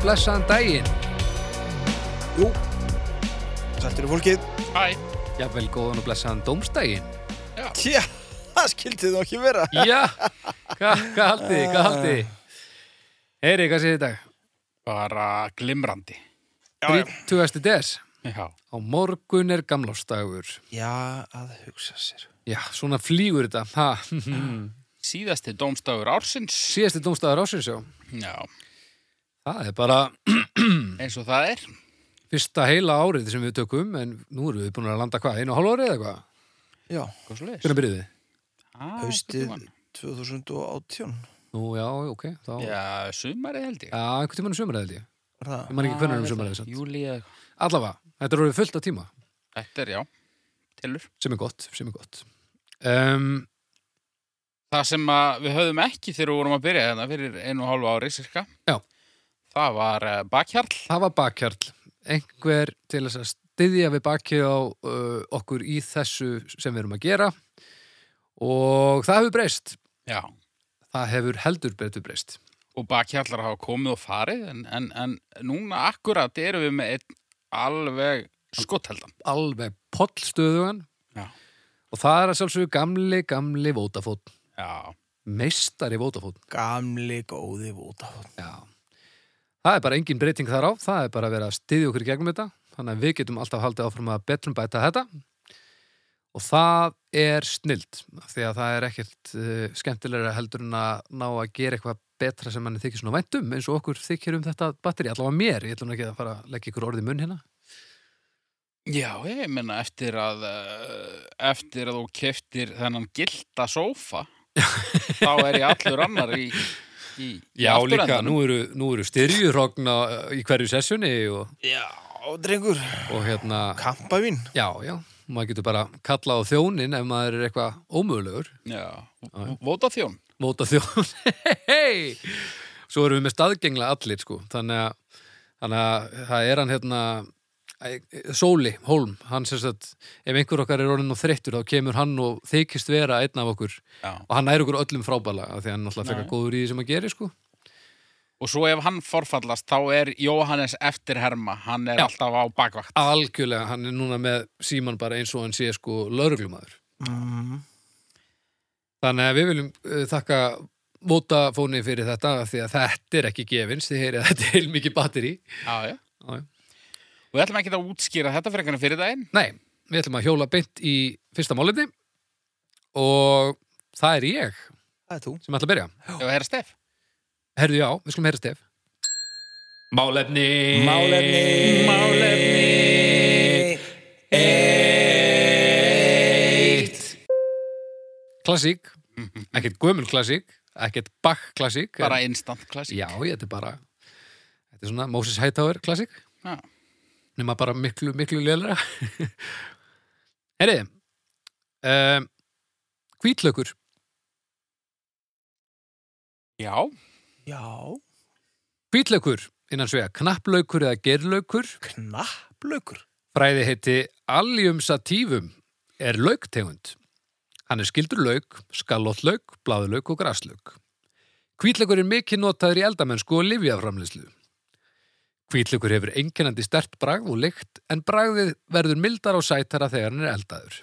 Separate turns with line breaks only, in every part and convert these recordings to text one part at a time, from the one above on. blessaðan daginn.
Jú, sættir í fólkið.
Hæ,
Jafnvel góðan og blessaðan dómsdaginn.
Tjá, það skildið þú ekki vera.
Já, hvað hva haldið, þið, hvað haldið? þið? Heyri, hvað séð þið í dag?
bara glimrandi.
Já,
30. des.
Já,
Á morgun er gamlástagur.
já, að hugsa sér.
Já, svona flýgur þetta. Ha.
síðasti dómstafur ársins.
Síðasti dómstagur ásins, já.
Já,
Það er bara Mm.
eins og það er.
fyrsta heila árið sem við tökum, en nú erum við búin að landa hvað, einu og hálf árið eða hvað?
Já,
Hvað svo leiðis?
Hvernig byrjuð þið?
Ah,
haustið 2018
Nú, já, ok, þá... Já,
Já, sumarið held ég. Ah,
einhvern tímann um sömur held ég.
var það.
Ég man ekki hvernig um sömur held ég.
Júli eða eitthvað.
Allavega, þetta er orðið fullt af tíma.
Þetta er, já, tilur.
sem er gott, sem er gott um,
Það sem að við höfðum ekki þegar við vorum að byrja þetta fyrir einu og hálfu ári cirka.
Já.
Það var uh, bakhjarl.
það var bakkjarl einhver til þess að styðja við bakið á uh, okkur í þessu sem við erum að gera og það hefur breyst
Já.
það hefur heldur betur breyst
Og bakhjarlar hafa komið og farið en, en, en núna akkurat erum við með einn alveg skotteldan.
alveg pollstöðugan
Já.
og það er að sjálfsögðu gamli, gamli vótafótt
Já.
meistari vótafótt
Gamli góði vótafón.
Já. Það er bara engin breyting þar á, það er bara að vera að styðja okkur í gegnum þetta, þannig að við getum alltaf haldið áfram að betrum bæta þetta og það er snild, því að það er ekkert uh, skemmtilegra heldur en að ná að gera eitthvað betra sem manni þykir svona væntum eins og okkur þykir um þetta batteri, allavega mér, ég ætlum nú ekki að fara að leggja ykkur orðið munn hérna.
Já, ég meina eftir að eh, eftir að þú keftir þennan gilda sófa þá er ég allur annar í, í, í afturendanum.
nú eru, nú eru styrjurogna í hverju sessjoni og,
Já, drengur.
og hérna,
Kampa mín.
já, já, maður getur bara kallað á þjónin ef maður er eitthvað ómögulegur.
Já, vóta þjón
móta þjón hei svo erum við með staðgengla allir sko þannig að, þannig að það er hann hérna æ, Sóli, Hólm, hann sem sagt ef einhver okkar er orðin og þreyttur þá kemur hann og þykist vera einn af okkur
Já.
og hann nær okkur öllum frábæla af því að hann náttúrulega fekka
Nei.
góður í því sem að gera sko
og svo ef hann forfallast þá er Jóhannes eftirherma hann er
Já.
alltaf á bakvakt
algjörlega, hann er núna með síman bara eins og hann sé sko lauruglumæður
Mm.
Þannig að við viljum uh, þakka Votafóni fyrir þetta af því að þetta er ekki gefins, þið heyrið að þetta er heilmikið batteri
Já, já
Já, já.
Og við ætlum ekki að útskýra þetta fyrir einhvern fyrir daginn
Nei, við ætlum að hjóla beint í fyrsta málefni og það er ég
Það er þú.
sem ætla að byrja.
ef að herra stef
Herðu já, við skulum heyra stef. Málefni
Málefni. Málefni.
Eitt Mhm. Klassík, ekkert gömul klassík, ekkert bakk klassík.
bara instant klassík
Já, ég, þetta er bara, þetta er svona Moses Hightower klassík,
Já.
nema bara miklu, miklu lélara. Herriði, um, hvítlaukur,
Já,
Já,
hvítlaukur innan svega knapplaukur eða gerlaukur
knapplaukur.
Fræði heiti Allium sativum er lauktegund. Hann er skildur lauk, skallotlauk, bláðlauk og graslauk. Hvítleikur er mikið notaður í eldamennsku og livjaframlislu. Hvítleikur hefur einkennandi stert bragð og lykt en bragðið verður mildar og sætara þegar hann er eldaður.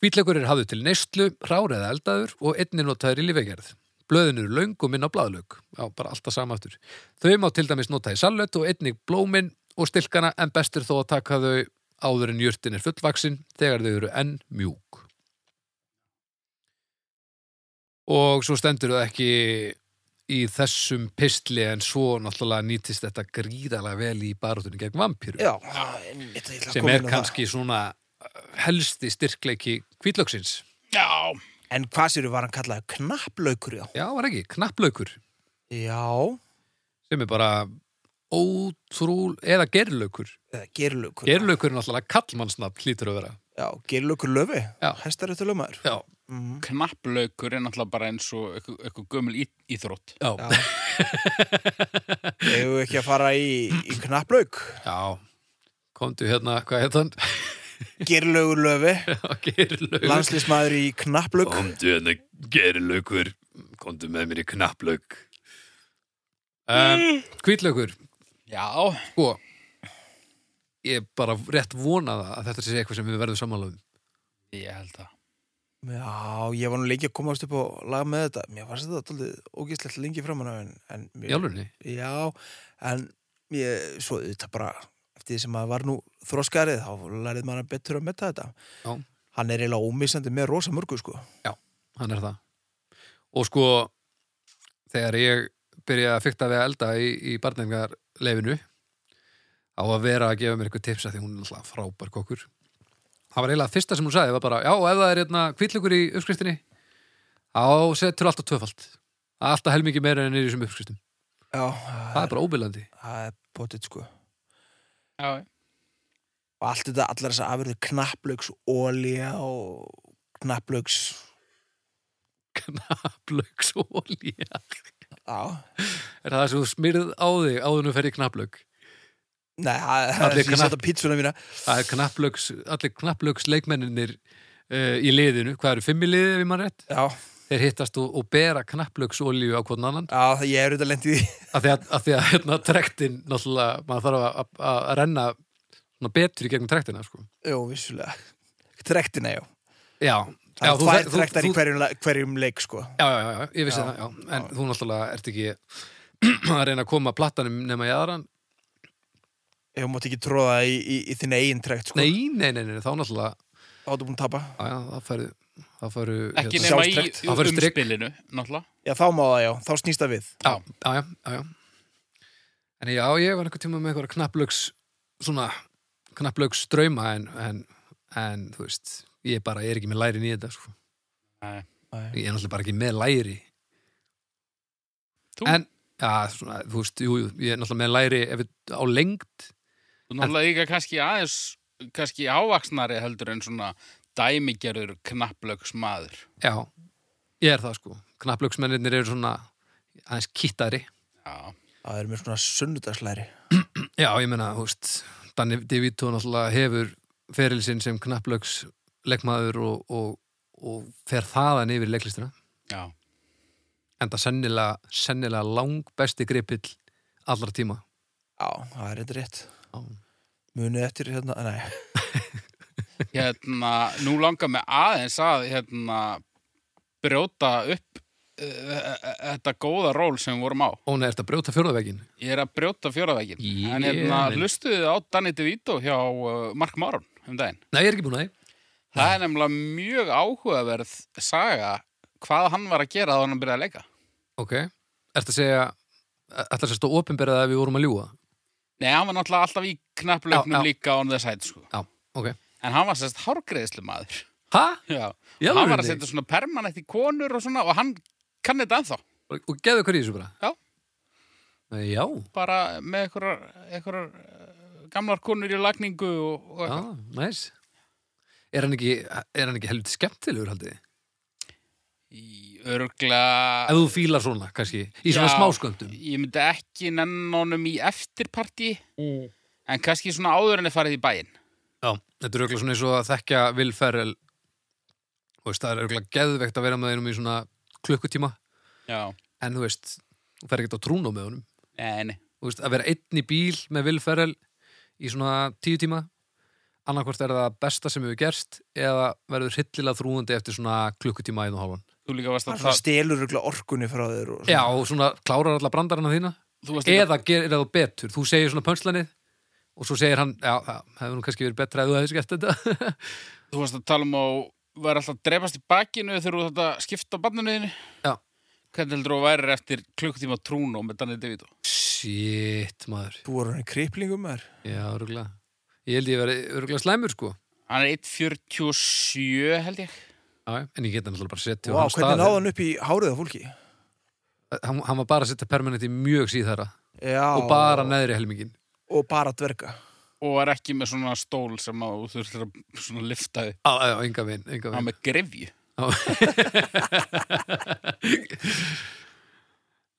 Hvítleikur er hafður til neyslu, rár eða eldaður og einnig notaður í lífegerð. Blöðin eru löng og minna á bláðlauk. Já, bara alltaf sama aftur. Þau má til dæmis nota í salut og einnig blómin og stilkana en bestur þó að taka þau áður en jurtin er fullvaksin þegar þau eru enn mjúk. Og svo stendur þau ekki í þessum pistli en svo náttúrulega nýtist þetta gríðalega vel í baróttunni gegn vampýru
Já, einmitt, ég ætla að
sem
koma
er
inn á
kannski svona uh, helsti styrkleiki kvítlöksins.
já,
það. En hvað séru var hann kallaði knapplaukur, já?
Já, var ekki, knapplaukur
Já,
sem er bara ótrúl eða gerlaukur.
eða gerlaukur.
Gerlaukur er náttúrulega kallmannsnafn hlýtur að vera.
Já, gerlaukur löfi.
Já.
Hestar eftir löfmaður.
Já,
Mm.
knapplaukur er náttúrulega bara eins og eitthvað eitthvað gömul í- íþrótt
já,
Já. Eigum við ekki að fara í, í knapplauk?
Já, komdu hérna, hvað heit hann?
Gerlaugur löfi,
Gerlaug.
landslýsmaður í knapplauk.
Komdu hérna, gerlaugur, komdu með mér í knapplaug. Um, hvítlaukur,
Já,
sko, ég bara rétt vona það að þetta sé eitthvað sem við verðum sammála um.
ég held það.
Já, ég var nú lengi að komast upp og laga með þetta. Mér fannst þetta alltaf ógæslegt lengi framan af en, en
Í alvegni?
Já, en ég, svo þetta bara, eftir því sem maður var nú þróskarið, þá lærið maður betur að metta þetta.
Já.
Hann er eiginlega ómissandi með rosa mörgu, sko.
Hann er það. Og sko, þegar ég byrjaði að fykta við að elda í, í barnengarleifinu, á að vera að gefa mér eitthvað tipsa því hún er alltaf frábær kokkur. Það var eiginlega fyrsta sem hún sagði, var bara, já, ef það er hérna hvítlaukur í uppskriftinni, þá setur alltaf tvöfald. Alltaf helmingi meira en er í þessum uppskriftum.
Já,
Það er bara óbillandi.
það er potið, sko.
Já, já.
Og allt þetta, allar þess að afurðu knapplauks, ólíja og knapplauks,
Knaflauks ólíja.
já.
Er það sem þú smyrð á þig áður nú ferði knaflaug?
Nei, það það
Allir
er þess að ég
knapp-
setja pítsuna mína.
Það er knaflaugs, allir knaflaugs leikmenninir uh, í liðinu. Hvað eru fimm í liðið, ef ég mann rétt?
Já,
Þeir hittast og, og bera knaflaugs ólíu á hvern annan.
já, það ég er auðvitað lendið í því.
Af því að, af því að hérna, trektin, náttúrulega, maður þarf að, að, að renna svona betur í gegnum trektina, sko.
Jó, vissulega. Trektina, já.
Já. já,
Það er
þú-
tvær
þú-
trektar í
þú-
hverjum, la- hverjum leik, sko.
Já, já, já, já, ég vissi
Já.
það, já. En þú náttúrulega ert ekki að reyna að koma plattanum nema í aðran.
Ég mátt ekki tróða í, í, í þinn eigin trekt, sko.
Nei, nei, nei, nei, þá náttúrulega
Þá ertu búin að tapa.
Já, já, það færu, það færu
Ekki
hérna,
nema í
sjálfstrekt.
Það færu strik
umspilinu, náttúrulega.
Já, þá má það, já. Þá snýst það við.
já, já, já, já, já. En já, ég var einhvern tíma með einhverja knapplauks svona knapplauks drauma en, en, en þú veist, ég bara er ekki með lærin í þetta sko.
Nei.
Nei.
ég er náttúrulega bara ekki með læri
Þú?
En, já, svona, þú veist, jú, jú ég er náttúrulega með læri ef við, á lengd
Þú náttúrulega líka kannski aðeins, kannski ávaksnari heldur en svona dæmigerður knapplöks maður.
Já, ég er það sko knapplauksmennirnir eru svona aðeins kittari
Já,
Það er mér svona sunnudagslæri.
Já, ég meina, þú veist, Danni DeVito náttúrulega hefur feril sinn sem knapplauks leikmaður og, og, og fer þaðan yfir í leiklistina.
já.
En það sennilega, sennilega lang besti gripill allra tíma.
Já, það er eitthvað rétt.
Já.
Munið eftir hérna, nei.
Hérna, nú langar mig aðeins að hérna, brjóta upp eh, þetta góða ról sem við vorum á.
Ó, nei, ertu að brjóta fjórðavegin?
Ég er að brjóta fjóraðveginn.
Ég
en hérna,
minn.
lustuðu á Danny DeVito hjá uh, Mark Maron um daginn.
Nei, ég er ekki búin að því.
Það er nefnilega mjög áhugaverð saga hvað hann var að gera þá hann byrjaði að leika.
Ok. Ertu að segja, ætla að sérstu ofinberið að við vorum að ljúga?
Nei, hann var náttúrulega alltaf í knapplöknum
Já, já.
líka on the side, sko.
Já, ok.
En hann var sérst hárgreðislu maður.
Ha?
Já.
Í
hann var
alvörunni?
að setja svona permanent í konur og svona og hann kann þetta ennþá.
Og, og geðu hver í þessu bara?
Já.
Nei, Já,
Bara með einhverjar, einhverjar eh, gamlar konur í lagningu og, og
já,
eitthvað.
næs. Er hann ekki, er hann ekki helviti skemmtilegur haldið?
Í örgla...
Ef þú fílar svona, kannski, í svona
Já.
smásköndum.
Ég myndi ekki nenn honum í eftirparti en kannski svona áður en er farið í bæinn.
Já, þetta er auðvitað svona eins og að þekkja vilferðel og veist, það er auðvitað geðveikt að vera með einum í svona klukkutíma
Já.
en þú veist, þú fer ekkert á trúnó með honum
En
þú veist, að vera einn í bíl með vilferðel í svona tíu tíma annarkvort er það besta sem hefur gerst eða verður hryllilega þrúandi eftir svona klukkutíma einu og hálfan
þú líka varst
Það
að
er svona stelur ykkur orkunni frá þér og
Já, og svona klárar alla brandarana þína
Þú varst líka,
eða gerir það betur, þú segir svona pönslanið og svo segir hann, já, það hefur nú kannski verið betra ef þú hefðis gert þetta
þú varst að tala um að þú væri alltaf að drefast í bakinu þegar þú þetta skipta á bannunuðinu.
Já.
Hvernig heldur þú værir eftir klukkutíma trúnu með Danny DeVito?
Shit, maður
þú voru hann í kriplingum er.
Já, örgulega. Ég held ég verið örgulega slæmur, sko.
Hann er 1.47 held ég.
Já, já, en ég geta náttúrulega bara að setja á
Vá,
hann
hvernig náði hann upp í hárið á fólki?
Hann, hann var bara að setja permanent í mjög síðara
Já.
og bara neðri helmingin.
Og bara dverga.
Og er ekki með svona stól sem að þú þurftir að svona lifta upp.
Já, já, enga veginn, enga veginn.
Hann er með grefju.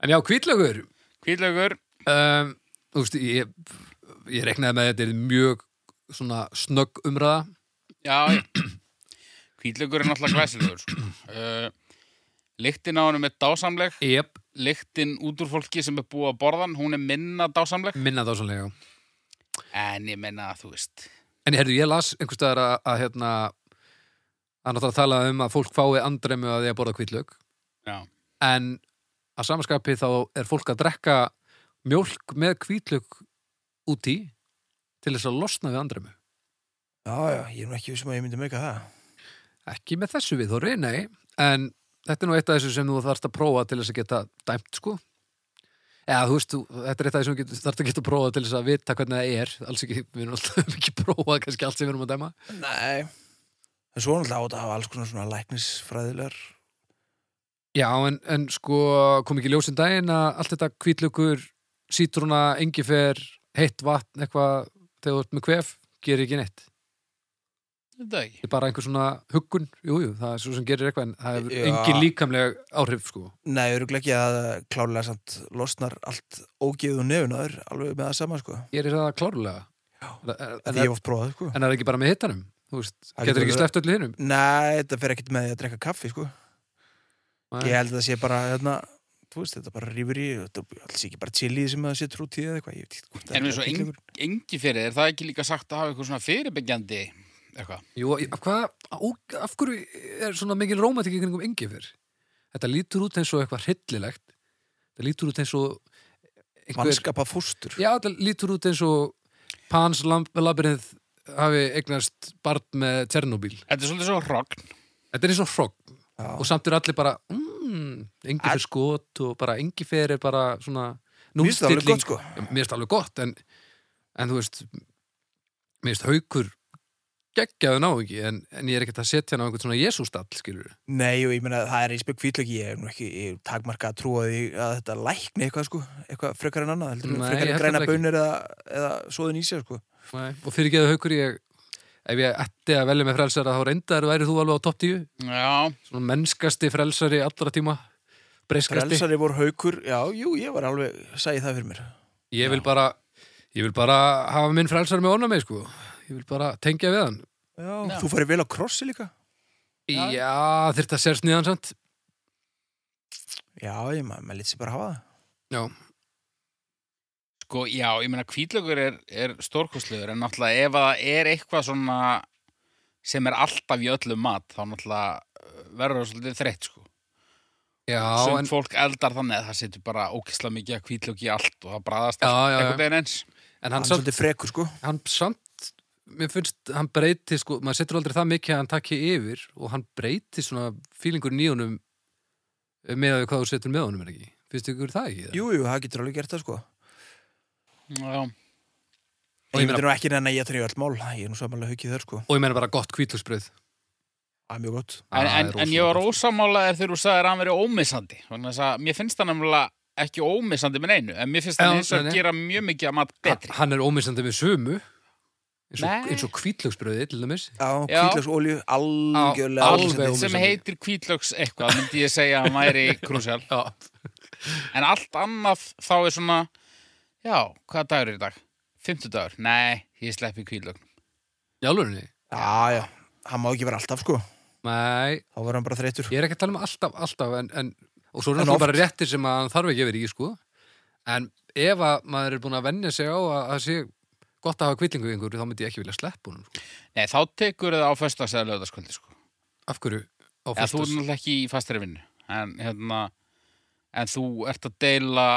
En já, hvítlaugur,
Hvítlaugur,
um, þú veist, ég, ég reknaði með að þetta er mjög svona snögg umræða.
já. Eh, Hvítlaugur er náttúrulega glæsilegur. sko. Uh, Lyktin á hann er dásamleg.
Jep,
lyktin út úr fólki sem er búið að borðan, hún er minna dásamleg.
minna þá sannlega.
En ég menna að þú veist,
En herðu, ég las einhvers staðar að, að hérna, að náttúrulega tala um að fólk fái andremu að því að borða kvítlaug.
já,
En að samaskapi þá er fólk að drekka mjólk með kvítlaug úti til þess að losna við andremu.
Já, já, ég er nú ekki sem að ég myndi meika það.
Ekki með þessu við þóri, nei, en þetta er nú eitt af þessu sem þú þarft að prófa til þess að geta dæmt, sko. Eða, þú veist, þú, þetta er eitt af þessu sem þú getur- þarft að geta prófa til þess að vita hvernig það er. Alls ekki, við erum alltaf um ekki prófað kannski allt sem við erum að dæma.
Nei. En svo er náttúrulega átt að hafa alls konar svona læknisfræðilegar.
Já, en, en sko, kom ekki ljósin daginn að allt þetta hvítlaukur, sítruna, engifer, heitt vatn, eitthvað, þegar þú ert með kvef, gerir ekki neitt.
þetta ekki.
Þetta er bara einhver svona huggun, jú, jú, það er svo sem gerir eitthvað, en það hefur
Já.
engin líkamleg áhrif, sko.
Nei, öruglega ekki að klálega samt losnar allt ógeðu nefn og er alveg með það sama, sko.
Gerir það klárlega. En,
En
en,
ég hef oft prófað, sko.
en það er ekki bara með hittanum, þú veist,
Það
getur
getur
ekki
verið-
sleppt öllu hinnum.
Nei, þetta fer ekkert með því að drekka kaffi, sko.
Nei.
Ég held að það sé bara, hérna, þú veist, þetta bara rífur í, þetta alls ekki bara chili sem það sé trútt í eða eitthvað, ég veit ekki hvort
En við svo
einhver...
Engi fyrir, er það ekki líka sagt að hafa eitthvað svona fyrirbyggjandi eitthvað?
Jú, af hvað, á, af hverju er svona mikil rómatik í kringum engifer? Þetta lítur út eins og eitthvað hryllilegt, þetta lítur út eins og einhver-
Mannskapa fóstur.
Já, þetta lítur út eins og Pans labyrinth hafi eignast barn með Tjernobyl.
Þetta er svolítið svo hrogn.
Þetta er eins og hrogg
Já.
og samt eru allir bara mm, engifer skot og bara engifer er bara svona
Mér finnst það alveg
núllstilling.
gott, sko.
Já, Mér finnst það alveg gott en, en þú veist mér finnst haukur geggjaðu ná ekki en, en ég er ekkert að setja hann á einhvern svona jesústall skilur við.
Nei, og ég meina það er í spjökk kvítlöki, ég er nú ekki ég takmarka að trúa því að þetta lækni eitthvað sko, eitthvað frekar en annað, heldur
Nei,
Nei,
ég
frekar
held
en græna
þetta ekki.
bönir eða, eða svoðin í sér sko.
og fyrir geðu haukur ég ef ég ætti að velja með frelsara þá reyndar væri þú alveg á topp 10
Já,
svona mennskasti frelsari allra tíma breyskasti
Frelsari voru haukur, já, jú, ég var alveg, sagði það fyrir mér.
Ég vil bara ég vil bara hafa minn frelsar með orna með sko ég vil bara tengja við hann
Já,
Já.
þú farið vel á krossi líka?
Já,
Já.
þyrfti að sérst niðan samt
Já, ég maður, maður lítið sér bara hafa það.
Já,
Sko, já, ég meina kvítlaugur er, er stórkostlegur en náttúrulega ef að það er eitthvað svona sem er alltaf í öllum mat þá náttúrulega uh, verður það svolítið þreytt sko.
já,
Sumt
en,
fólk eldar þannig að það setur bara ókisla mikið að kvítlaug í allt og það bræðast
Já,
allt
já, já.
einhvern veginn eins.
en
Hann
hann,
er
samt,
svolítið frekur sko.
hann samt mér finnst, hann breyti sko maður setur aldrei það mikið að hann takki yfir og hann breyti svona fílingur nýjunum með að við hvað þú setur með honum er ekki finnst ykkur það ekki?
Jú, jú, það getur alveg gert það sko.
Já,
Og
En
ég
ég
meina-
myndi nú ekki reyna að ég treyja öll mál, ég er nú samanlega haukið þar sko.
Og ég meina bara gott hvítlöksbröð
Það er mjög gott.
Ah,
en, en, en ég var ósamála er þegar þú sagðir að hann verið ómissandi. Þannig að mér finnst það nefnilega ekki ómissandi með neinu en mér finnst
Já,
það eins
nei,
og
nei.
að gera mjög mikið að mat betri.
Hann er ómissandi með sömu eins og,
Nei.
eins og hvítlöksbröði til dæmis
Já,
Já.
kvítlags olju,
Á-
algjörlega. ómissandi.
alveg
sem
ómissandi.
heitir kvítlaugs eitthvað myndi ég segja að hann væri krúsjál
Já,
En allt annað þá er svona Já, hvaða dagur er í dag? Fimmtudagur? Nei, ég sleppi kvíðlögn
í alvörunni
Já, já, hann má ekki vera alltaf sko.
Nei,
Þá verður hann bara þreytur.
Ég er ekki að tala um alltaf, alltaf en, en, og svo er
En
náttúrulega
oft.
bara réttir sem að hann þarf ekki að vera í sko. en ef að maður er búin að vennja sig á að það sé gott að hafa kvillingu við einhverju, þá myndi ég ekki vilja sleppa honum sko.
Nei, þá tekur það á föstags eða lögðaskvöldi sko.
af hverju á
Eða þú er
föstudags?
náttúrulega ekki í fastri vinnu En hérna En þú ert að deila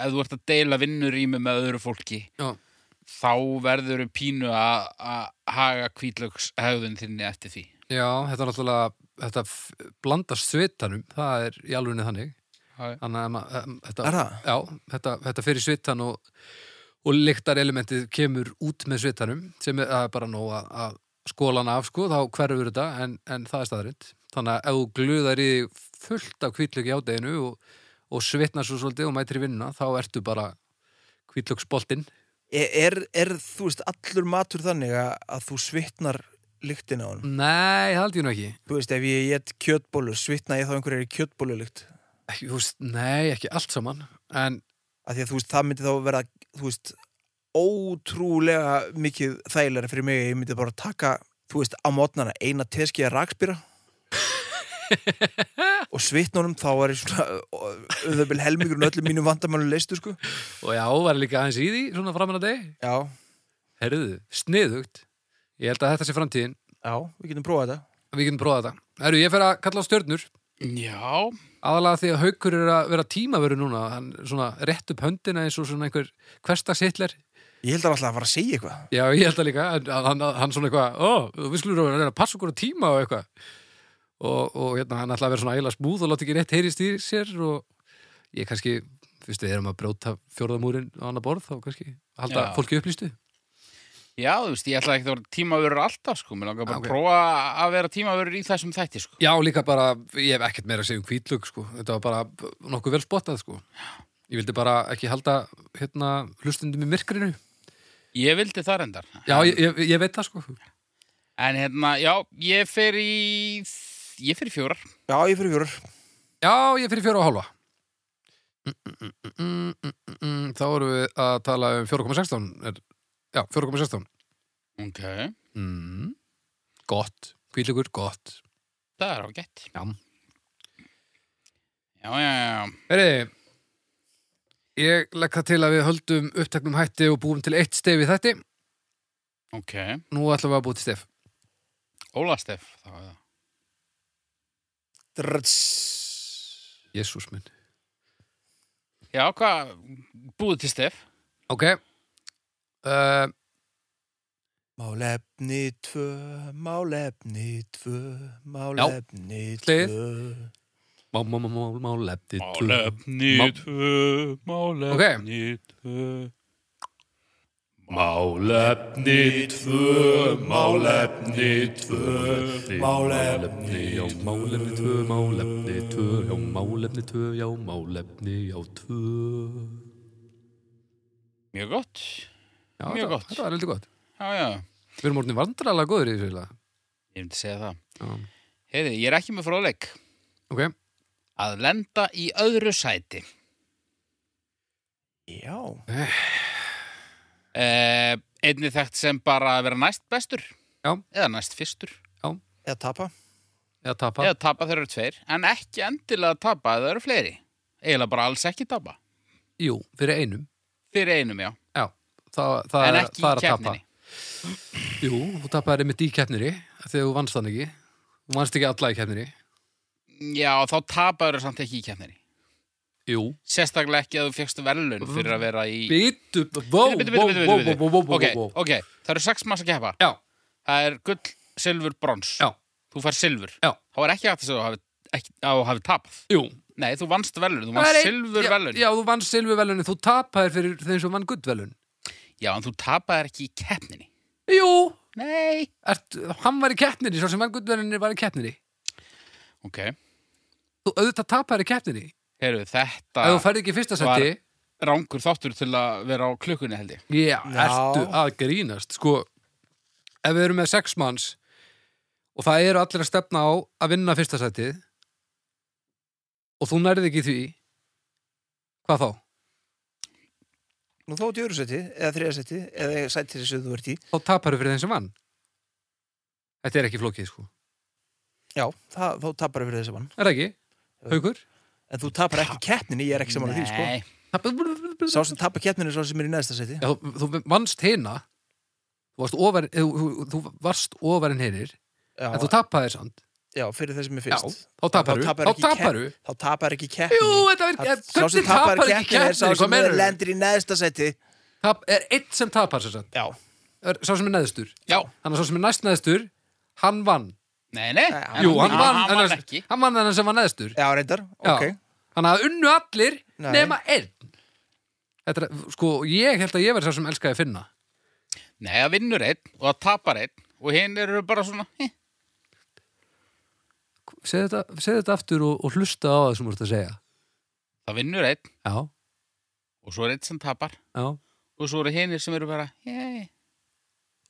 Ef þú ert að deila vinnurými með öðru fólki
Já.
Þá verður við pínu að að haga kvítlöks höfðun þinni eftir því
Já, þetta er náttúrulega þetta f- blandast svitanum, það er í alvegni þannig
Já,
Þannig að ma- em,
Er
þetta,
það?
já, þetta, þetta fyrir svitan og, og lyktar elementið kemur út með svitanum sem er, það er bara nóg að, að skólan af sko, þá hverfur þetta en, en það er staðarind. Þannig að ef þú glöðar í þig fullt af kvítlöki á deginu og, og svitnar svo svolítið og mætir í vinnuna, þá ertu bara kvítlöksboltinn.
Er, er, er, þú veist, allur matur þannig að, að þú svitnar lyktin á hann?
Nei, það held ég nú ekki.
Þú veist, ef ég get kjötbólu, svitna ég þá einhverjir kjötbólulykt?
ekki þú veist, nei, ekki allt saman. En
Af því að þú veist, það myndi þá vera, þú veist, ótrúlega mikið þægilega fyrir mig. Ég myndi bara taka, þú veist, á mótnana eina teskiða rakspýra og svitnunum þá var ég svona um það byrja helmingur en öllum mínum vandamönnum leistu sko
Og já, var líka aðeins í því, svona framan að deg.
já,
Herðu, sniðugt. Ég held að þetta sé framtíðin.
já, við getum prófað þetta
Við getum prófað þetta. Herru, ég fer að kalla á stjörnur.
Já,
Aðalega því að haukur er að vera tímaveru núna. Hann svona rétt upp höndina eins og svona einhver hverstags hitler.
ég held að alltaf að fara að segja eitthvað
Já, ég held að líka. en Hann, hann, hann svona eitthvað, ó, við skulum vera að passa okkur á tíma og eitthvað. Og, og hérna, hann ætla að vera svona ægilega smúð og láta ekki rétt heyrist í sér og ég kannski, fyrst við erum að brjóta fjórðamúrin á annar borð, þá kannski halda
Já.
fólki upplýstu.
já, þú veist, ég ætla ekki að vera tímaverur alltaf, sko. Mér langar bara
Ah, Ok.
að prófa að vera tímaverur í þessum þætti, sko.
Já, líka bara, ég hef ekkert meira að segja um kvítlug, sko. Þetta var bara nokkuð vel spottað, sko. Ég vildi bara ekki halda, hérna, hlustundum í myrkrinu.
Ég vildi það reyndar.
Já, ég, ég, ég veit það, sko.
En hérna, já, ég fer í... Ég fer í fjórar.
já, ég fyrir fjörur,
Já, ég er fyrir fjóra og hálfa. Mm, mm, mm, mm, mm, mm, mm. Þá erum við að tala um 4,16. er- Já, 4,16.
Ok.
Mm. Gott. Kvítlugur, gott.
Það er ágætt.
Já.
Já, já, já.
Heri, ég legg það til að við höldum uppteknum hætti og búum til eitt stef í þætti.
Ok.
Nú ætlum við að búið til stef.
Óla Steff, þá er það.
Drrts.
Jésús minn.
Já, hvað? Búið til Steff.
Ok uh,
Málefni tvö, málefni tvö, málefni
hlið.
tvö.
Má, má, má, má, má, lepti Má-
Málefni tvö, málefni tvö Málefni tvö, málefni tvö
Málefni
Já, málefni tvö, málefni tvö Já, málefni tvö, já, málefni, já, tvö
Mjög gott,
já,
Mjög
þetta-
gott.
Þetta var heldur gott
já, já,
Við erum orðin vandrarlega góður í þessu eiginlega.
ég myndi segja það
Já.
Heiði, ég er ekki með fróðleik
Ok,
Að lenda í öðru sæti
Já,
eh, Einni þekkt sem bara að vera næst bestur
Já.
Eða næst fyrstur
eða tapa.
eða tapa
Eða tapa þeir eru tveir En ekki endilega tapa eða eru fleiri Eiginlega bara alls ekki tapa
Jú, fyrir einum
Fyrir einum, já,
Þa, það,
en
er-
ekki
það
í
er að tapa.
keppninni
Jú, þú tapaði einmitt í keppniri Þegar þú vannst þann ekki Þú vannst ekki alla í keppniri
Já, þá tapaður samt ekki í keppninni
Jú
Sérstaklega ekki að þú fegst verðlun fyrir að vera í...
Býtu, vó,
Bíddu, bíddu,
vó,
bíddu,
vó,
bíddu,
vó, vó, vó,
Ok,
vó
ok, það eru sex manns að keppa.
Já,
Það er gull, silfur, brons.
Já.
Þú fær silfur.
Já.
Þá er ekki hægt að segja að þú hafi, ekki, að þú hafi tapað.
jú
Nei, þú vannst verðlun, þú
Það er
vannst
ein-
silfur
já,
verðlun. Já.
Já, þú vannst silfur velun en þú tapaðir fyrir þeim sem vann gutt velun
en þú tapaðir ekki í keppninni.
Jú,
Nei.
ert, hann var í keppninni, svo sem vann gutt velunni var í keppninni
Ok,
Þú auðvitað tapaðir í keppninni
heyrðu,
Ef þú
þetta
færði ekki í fyrsta
Ah. var-
seti
rángur þáttur til að vera á klukkunni held ég.
Já,
Já.
ertu að grínast Sko, ef við erum með sex manns og það eru allir að stefna á að vinna fyrsta setið og þú nærði ekki því Hvað þá?
Nú þá ert í öru seti, eða þriða seti, eða sæti þessu þú ert í.
Þá tapaðir fyrir þeim sem vann Þetta er ekki flókið, sko
Já, það, þá tapar fyrir þessi mann.
Er það ekki? Haukur?
En þú tapar ekki keppninni, ég er ekki saman að því, sko.
Nei,
Tapar-
Sá sem tapar keppninni er sá sem er í neðsta seti.
Já, þú, þú vannst hina þú varst ofar, þú, þú- þú varst ofar en hinir
Já,
en þú tappaðir samt
já fyrir þessi með fyrst.
Já, þá taparu,
Þá tapar
þá
ekki
taparu
Þá tapar ekki keppninni.
Jú, þetta er
Það- Sá sem
hvernig tapar
tapar
ekki
keppninni er sá
keppnir, hvað
sem
menur
lendir í neðsta seti.
Tap, er eitt sem tapar sér samt
Já,
er, sá sem er neðstur,
já,
hann er sá sem er næst neðstur hann vann,
nei, nei.
Nei,
jú, hann
Hann-
vann
hann
en
vann
hann-
ekki.
hann vann þennan sem var neðstur
já, reyndar,
Já.
ok.
hann hafði unnu allir
Nei.
nema einn Þetta er, sko, ég held að ég verð sá sem elskaði að finna
Nei, það vinnur einn og það tapar einn og hinn eru bara svona, heh,
segð þetta, segð þetta aftur og, og hlusta á það sem þú vorst að segja
það vinnur einn
já,
og svo er einn sem tapar
já,
og svo eru hinir sem eru bara yeah.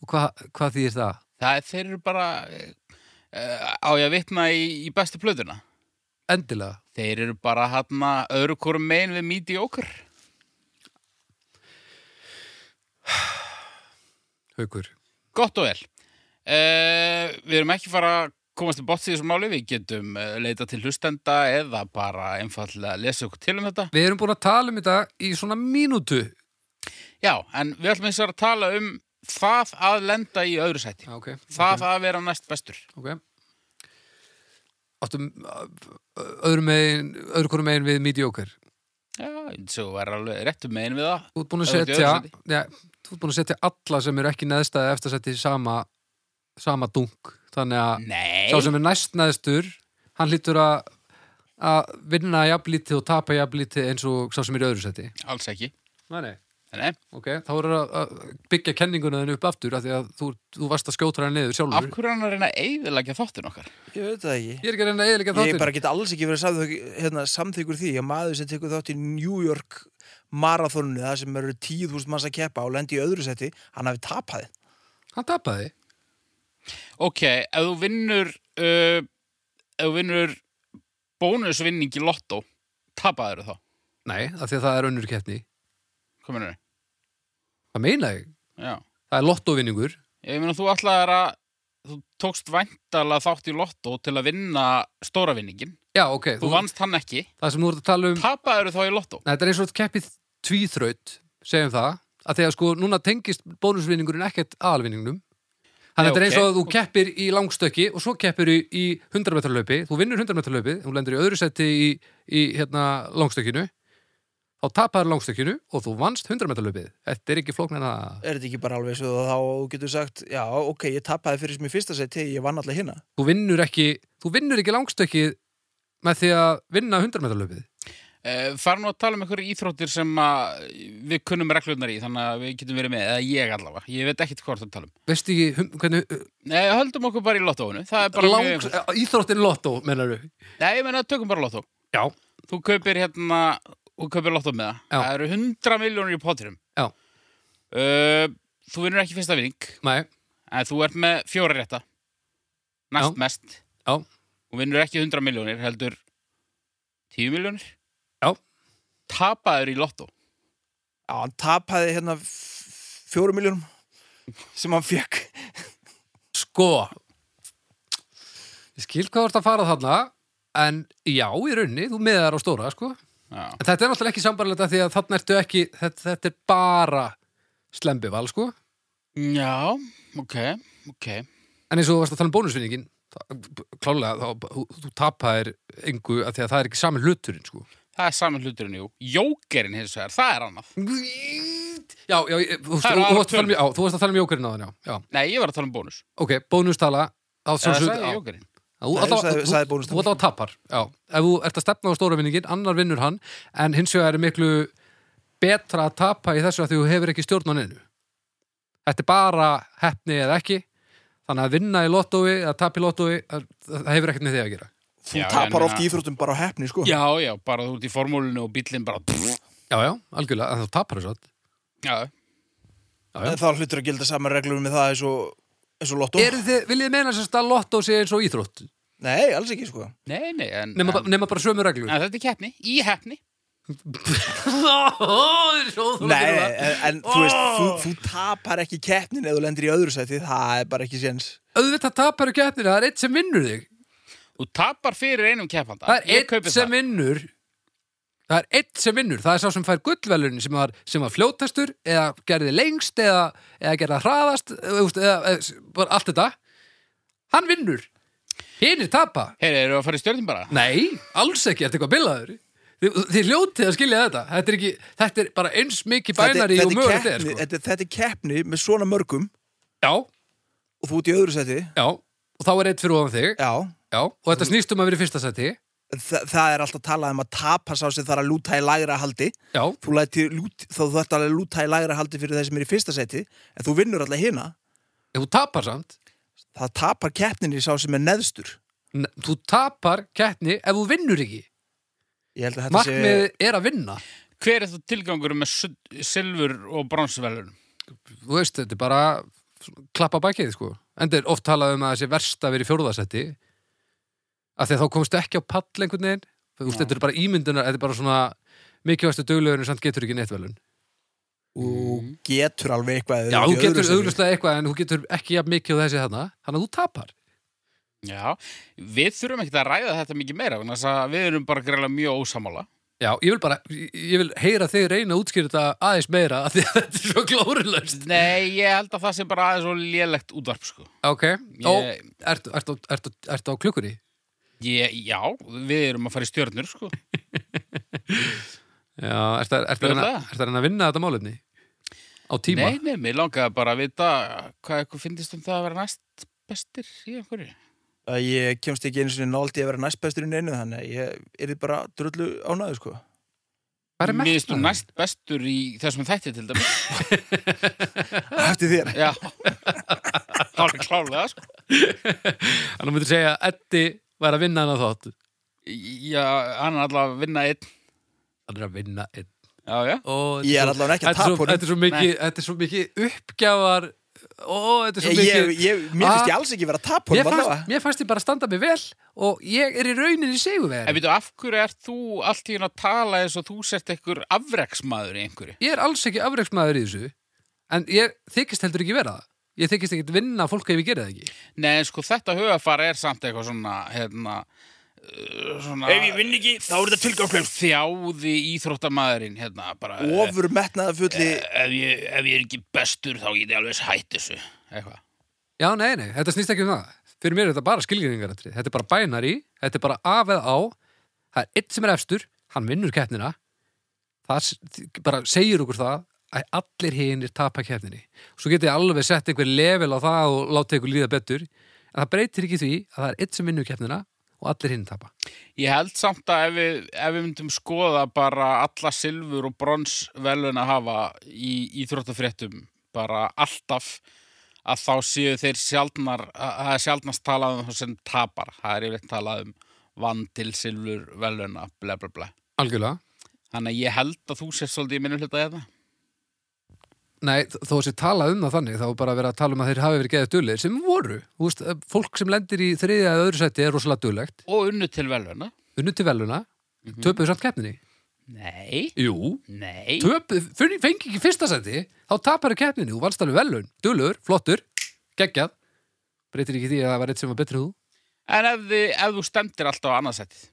og hvað hva þýðir það?
það er þeir eru bara uh, á ég að vitna í, í bestu plöðuna
Endilega
þeir eru bara hann öðru hvorum megin við míti okkur
Haukur
gott og vel uh, Eh, við erum ekki fara að komast í botts í þessu máli, við getum eh, leitað til hlustenda eða bara einfallega lesa okkur til um þetta.
Við erum búin að tala um þetta í svona mínútu.
Já, en við ætlum eins og að tala um það að lenda í öðru sæti.
Já, ok.
Það að vera næst bestur.
Ok. Áttum öðru megin, öðru korum megin við mediocre.
Já, eins og vera alveg réttum megin við það.
Þú ert búin að
Öðru til
setja,
öðru
ja, þú ert búin að setja alla sem eru ekki neðstæði eftirsætti í sama, sama dunk. Þannig að
Nei,
sá sem er næst neðstur, hann lítur að að vinna jafnlítið og tapa jafnlítið eins og sá sem er í öðru sæti.
alls ekki.
Nei, nei.
Nei,
Ok, þá voru að, að byggja kenninguna þenni upp aftur af því að þú, þú varst að skjóta hann niður
af
sjálfur.
hverju er hann að reyna að eigðilega þáttin okkar?
Ég veit það ekki.
Ég er ekki að reyna að eðlika
Ég
þáttir.
bara get alls ekki verið samþykkur, hérna, samþykkur því að maður sem tekur þátt í New York marathoninu, það sem eru 10.000 manns að keppa og lendi í öðru seti, hann hafi tapaði.
Hann tapaði.
Ok, ef þú vinnur uh, ef þú vinnur bónusvinning í lottó tapaður þá,
Nei, af því að það er önnur keppni.
hvað mennur þau?
Það meina ég.
Já,
Það er lottovinningur.
ég meina þú ætlaðir að þú tókst væntalega þátt í lottó til að vinna stóra vinningin
Já, ok.
þú vannst hann ekki,
Það sem þú voru að tala um...
tapaður þá í lottó
Nei, þetta er eins og keppið tvíþraut, segjum það. Af því að sko, núna tengist bónusvinningurinn ekkert aðalvinningnum. Þannig að
Nei,
þetta er eins
ok.
og að þú keppir í langstökki og svo keppir í, í 100 metra löpi. Þú vinnur 100 metra löpi, þú lendur í öðru seti í, í hérna, langstökkinu. Þá tapaður langstökkinu og þú vannst 100 metra löpið. Þetta er ekki flókn en að...
Er þetta ekki bara alveg svo þá og þú getur sagt, já, ok, ég tapaði fyrir sem í fyrsta seti, ég vann alltaf hérna.
Þú vinnur ekki, þú vinnur ekki langstökkið með því að vinna 100 metra löpið.
uh, fara nú að tala um einhverju íþróttir sem að við kunnum reglurnar í þannig að við getum verið með, eða ég allavega ég veit ekkit hvort að tala um
Veist ekki hum, hvernig uh,
Nei, höldum okkur bara í lottóinu, það er bara mjög
langs,
einfalt.
íþróttin lottó, mennar du?
Nei, ég meina, tökum bara lottó
Já.
þú kaupir hérna þú kaupir lottó með það,
Já.
það eru 100 miljónur í pottinum
Já.
uh, þú vinnur ekki fyrsta vinning
Nei,
en þú ert með fjóra rétta næst
Já.
mest
Já.
og vinnur ekki 100 miljónir, heldur 10 miljónir
Já.
tapaður í lottó
Já, hann tapaði hérna fjórum miljónum sem hann fekk.
sko Ég skil hvað þú ert að fara þarna en já, í raunni, þú miðar á stóra, sko En
Já.
þetta er náttúrulega ekki sambarlegt að því að þarna ertu ekki þetta, þetta er bara slembival, sko
Já, ok, ok
En eins og þú varst að tala um bónusvinningin klálega, þá, þú, þú tapaðir engu að því að það er ekki sami hluturinn, sko
það er saman hluturinn, jú jókerinn hins vegar, það er annað
Já, já, ég- þú,
Það
þú, þú,
eru
varst að
aðrar
tala um, já, þú varst að tala um jókurinn á þann, já, já
nei, ég var að tala um bónus
Ok, bónustala á
Eða
sjálfsögðu- á-
sagði ég jókerinn
Þú
Nei,
alltaf-
sagði-
þú-
sagði bónus
þú alltaf tapar Já, ef þú ert að stefna á stóra vinningin annar vinnur hann, en hins vegar er miklu betra að tapa í þessu að því þú hefur ekki stjórn á neinu Þetta er bara heppni eða ekki þannig að vinna í lottói eða tapa í lottói, það það hefur ekkert með því að gera
Þú
Já, ég
tapar oft
meina-
í íþróttum bara á hefni, sko.
já, já, bara þú ert í formúlinu og bíllinn bara
Já, já, algjörlega, en þú tapar þessu allt.
já,
Já, já.
En þá hlutur að gilda saman reglum með það eins og, eins og lottó.
Eru þið, viljið meina sérst að lottó sé eins og íþrótt
Nei, alls ekki, sko.
Nei, nei, en,
nema, en,
en,
nema bara sömu reglur
en þetta er keppni, í hefni
Nei, en, en þú veist, þú, þú tapar ekki keppnin ef þú lendir í öðru sæti, það er bara ekki séns.
Auðvitað tapar ekki efnir, það er eitt sem vinnur þig
Þú tapar fyrir einum keppanda
Það er
Ég
eitt
kaupi
sem
það.
vinnur Það er eitt sem vinnur Það er sá sem fær gullvelunin sem var, sem var fljótastur eða gerði lengst eða, eða gerði hraðast eða, eða, eða, bara allt þetta Hann vinnur Hinnir tapa
Heyri, eru að fara í stjörnum bara?
Nei, alls ekki, ertu eitthvað bilaður Þið, þið hljótið að skilja þetta Þetta er, ekki, þetta er bara eins mikið bænari og
þetta,
mögulegt
er
er
keppni,
sko.
þetta, þetta er keppni með svona mörgum
Já,
og þú ert í öðru sæti,
já Og þá er eitt fyrir ofan þig
já,
Já, og
Mm.
þetta snýst um að vera í fyrsta sæti
Þa, það er alltaf talað um að tapa sá sem þarf að lúta í lægra haldi.
Já,
Þú læti, lút, þá þú ert alveg að lúta í lægra haldi fyrir þeir sem er í fyrsta sæti, en þú vinnur alltaf hina.
ef þú tapar samt
Það tapar keppninni sá sem er neðstur.
ne- Þú tapar keppni ef þú vinnur ekki
Ég held að þetta
Markmiðið er að vinna
Hver er þú tilgangur með sul- silfur og bronsvelun?
þú veist, þetta er bara svona klappa bækið, sko. Enda er oft talað um að það sé verst að vera í fjórðasetti af því að þá komstu ekki á pall einhvern veginn, þú veist,
Já.
þetta er bara ímyndunar þetta er bara svona mikilvægstu döglegurinn samt getur ekki neitt velun.
sé, þú getur alveg eitthvað. ef
Já,
ert
þú
í öðru
getur
sæti.
auðvitað eitthvað en þú getur ekki jafn mikið á þessi þarna, þannig að þú tapar
Já, við þurfum ekkert að ræða þetta mikið meira vegna þess að við erum bara greiðlega mjög ósamála
Já, ég vil bara, ég ég vil heyra þig reyna að útskýra þetta aðeins meira af því að þetta er svo glóruðlöst.
Nei, ég held að það sé bara aðeins og lélegt útvarp sko.
Ok, ó,
ég,
ertu, ertu, ertu, ertu á klukkunni?
ég, Já, við erum að fara í stjörnur sko.
Já, ertu, ertu, ertu, að reyna-
Fljótlega.
ertu að reyna að vinna þetta málefni? Á tíma?
Nei, nei, mér langaði bara að vita hvað eitthvað finnist um það að vera næst bestir í einhverju
að ég kemst ekki einu sinni náldi að vera næstbestur í neinu þannig að ég er bara drullu ánæðu sko
Hvað er
Mér finnst þú
metnaðurinn?
næst bestur í þessum þætti til dæmis
eftir þér
Já, alveg klálega sko.
Þannig að myndir segja að Eddi var að vinna hann að þátt.
Já, hann er alltaf að vinna einn
Hann er að vinna einn.
Já, já
Ó,
Ég er
þetta
allavega ekki að
þetta er
tapa
svo-
honum.
Þetta er svo mikið, þetta er svo mikið uppgjafar. Ó, þetta er svo
ég,
mikið.
ég, ég, mér finnst ég
Ah.
alls ekki vera að tapa
mér,
honum
fannst,
allavega
mér fannst ég bara standa mig vel og ég er í rauninni
En
sigurvegari.
veitu, af hverju ert þú allt í hérna að tala eins og þú sért einhver afreksmaður í einhverju?
Ég er alls ekki afreiksmaður í þessu, en ég þykist heldur ekki vera það. Ég þykist ekki vinna fólk ef ég gera það ekki.
Nei, en sko, þetta höfafara er samt eitthvað svona, hérna, uh, svona... Ef ég vinn ekki, þá er þetta tilganglega. Þjáði íþróttamaðurinn, hérna, bara...
ofur metnaða fulli
eh, Ef ég, ef ég er ekki bestur, þá get ég alveg hætt þessu. Eitthvað.
Já, nei, nei, þetta snýst ekki um það. Fyrir mér er þetta bara skilgjöringaratri. Þetta er bara bænari, þetta er bara af eða á. Það er eitt sem er efstur, hann vinnur keppnina. Það s- bara segir okkur það að allir hinir tapa keppninni. Svo getið þið alveg sett einhver level á það og látið ykkur líða betur. En það breytir ekki því að það er eitt sem vinnur keppnina og allir hinir tapa.
Ég held samt að ef við, ef við myndum skoða bara alla silfur og brons velun að hafa í íþróttafréttum bara alltaf að þá séu þeir sjaldnar að það er sjaldnast talað um þá sem tapar það er yfirleitt talað um vann til silfur veluna, bla bla bla
Algjörlega.
þannig að ég held að þú sér svolítið í hérna. minnum hluta þetta
Nei, þ- þó að sé talað um það þannig, þá er bara verið að tala um að þeir hafi verið geðið duðlegir, sem voru. Þú veist, fólk sem lendir í þriðja eða öðru sæti er rosalega duðlegt,
og unnu til veluna
unnu til veluna,
Mhm.
töpuðu samt keppninni.
Nei,
Jú,
nei
töpu, fengi ekki fyrsta seti þá tapar þú keppninu, þú vannst alveg velun dulur, flottur, geggjað breytir ekki því að það var eitt sem var betri en þú
En ef, þið, ef þú stemdir alltaf á annarsættið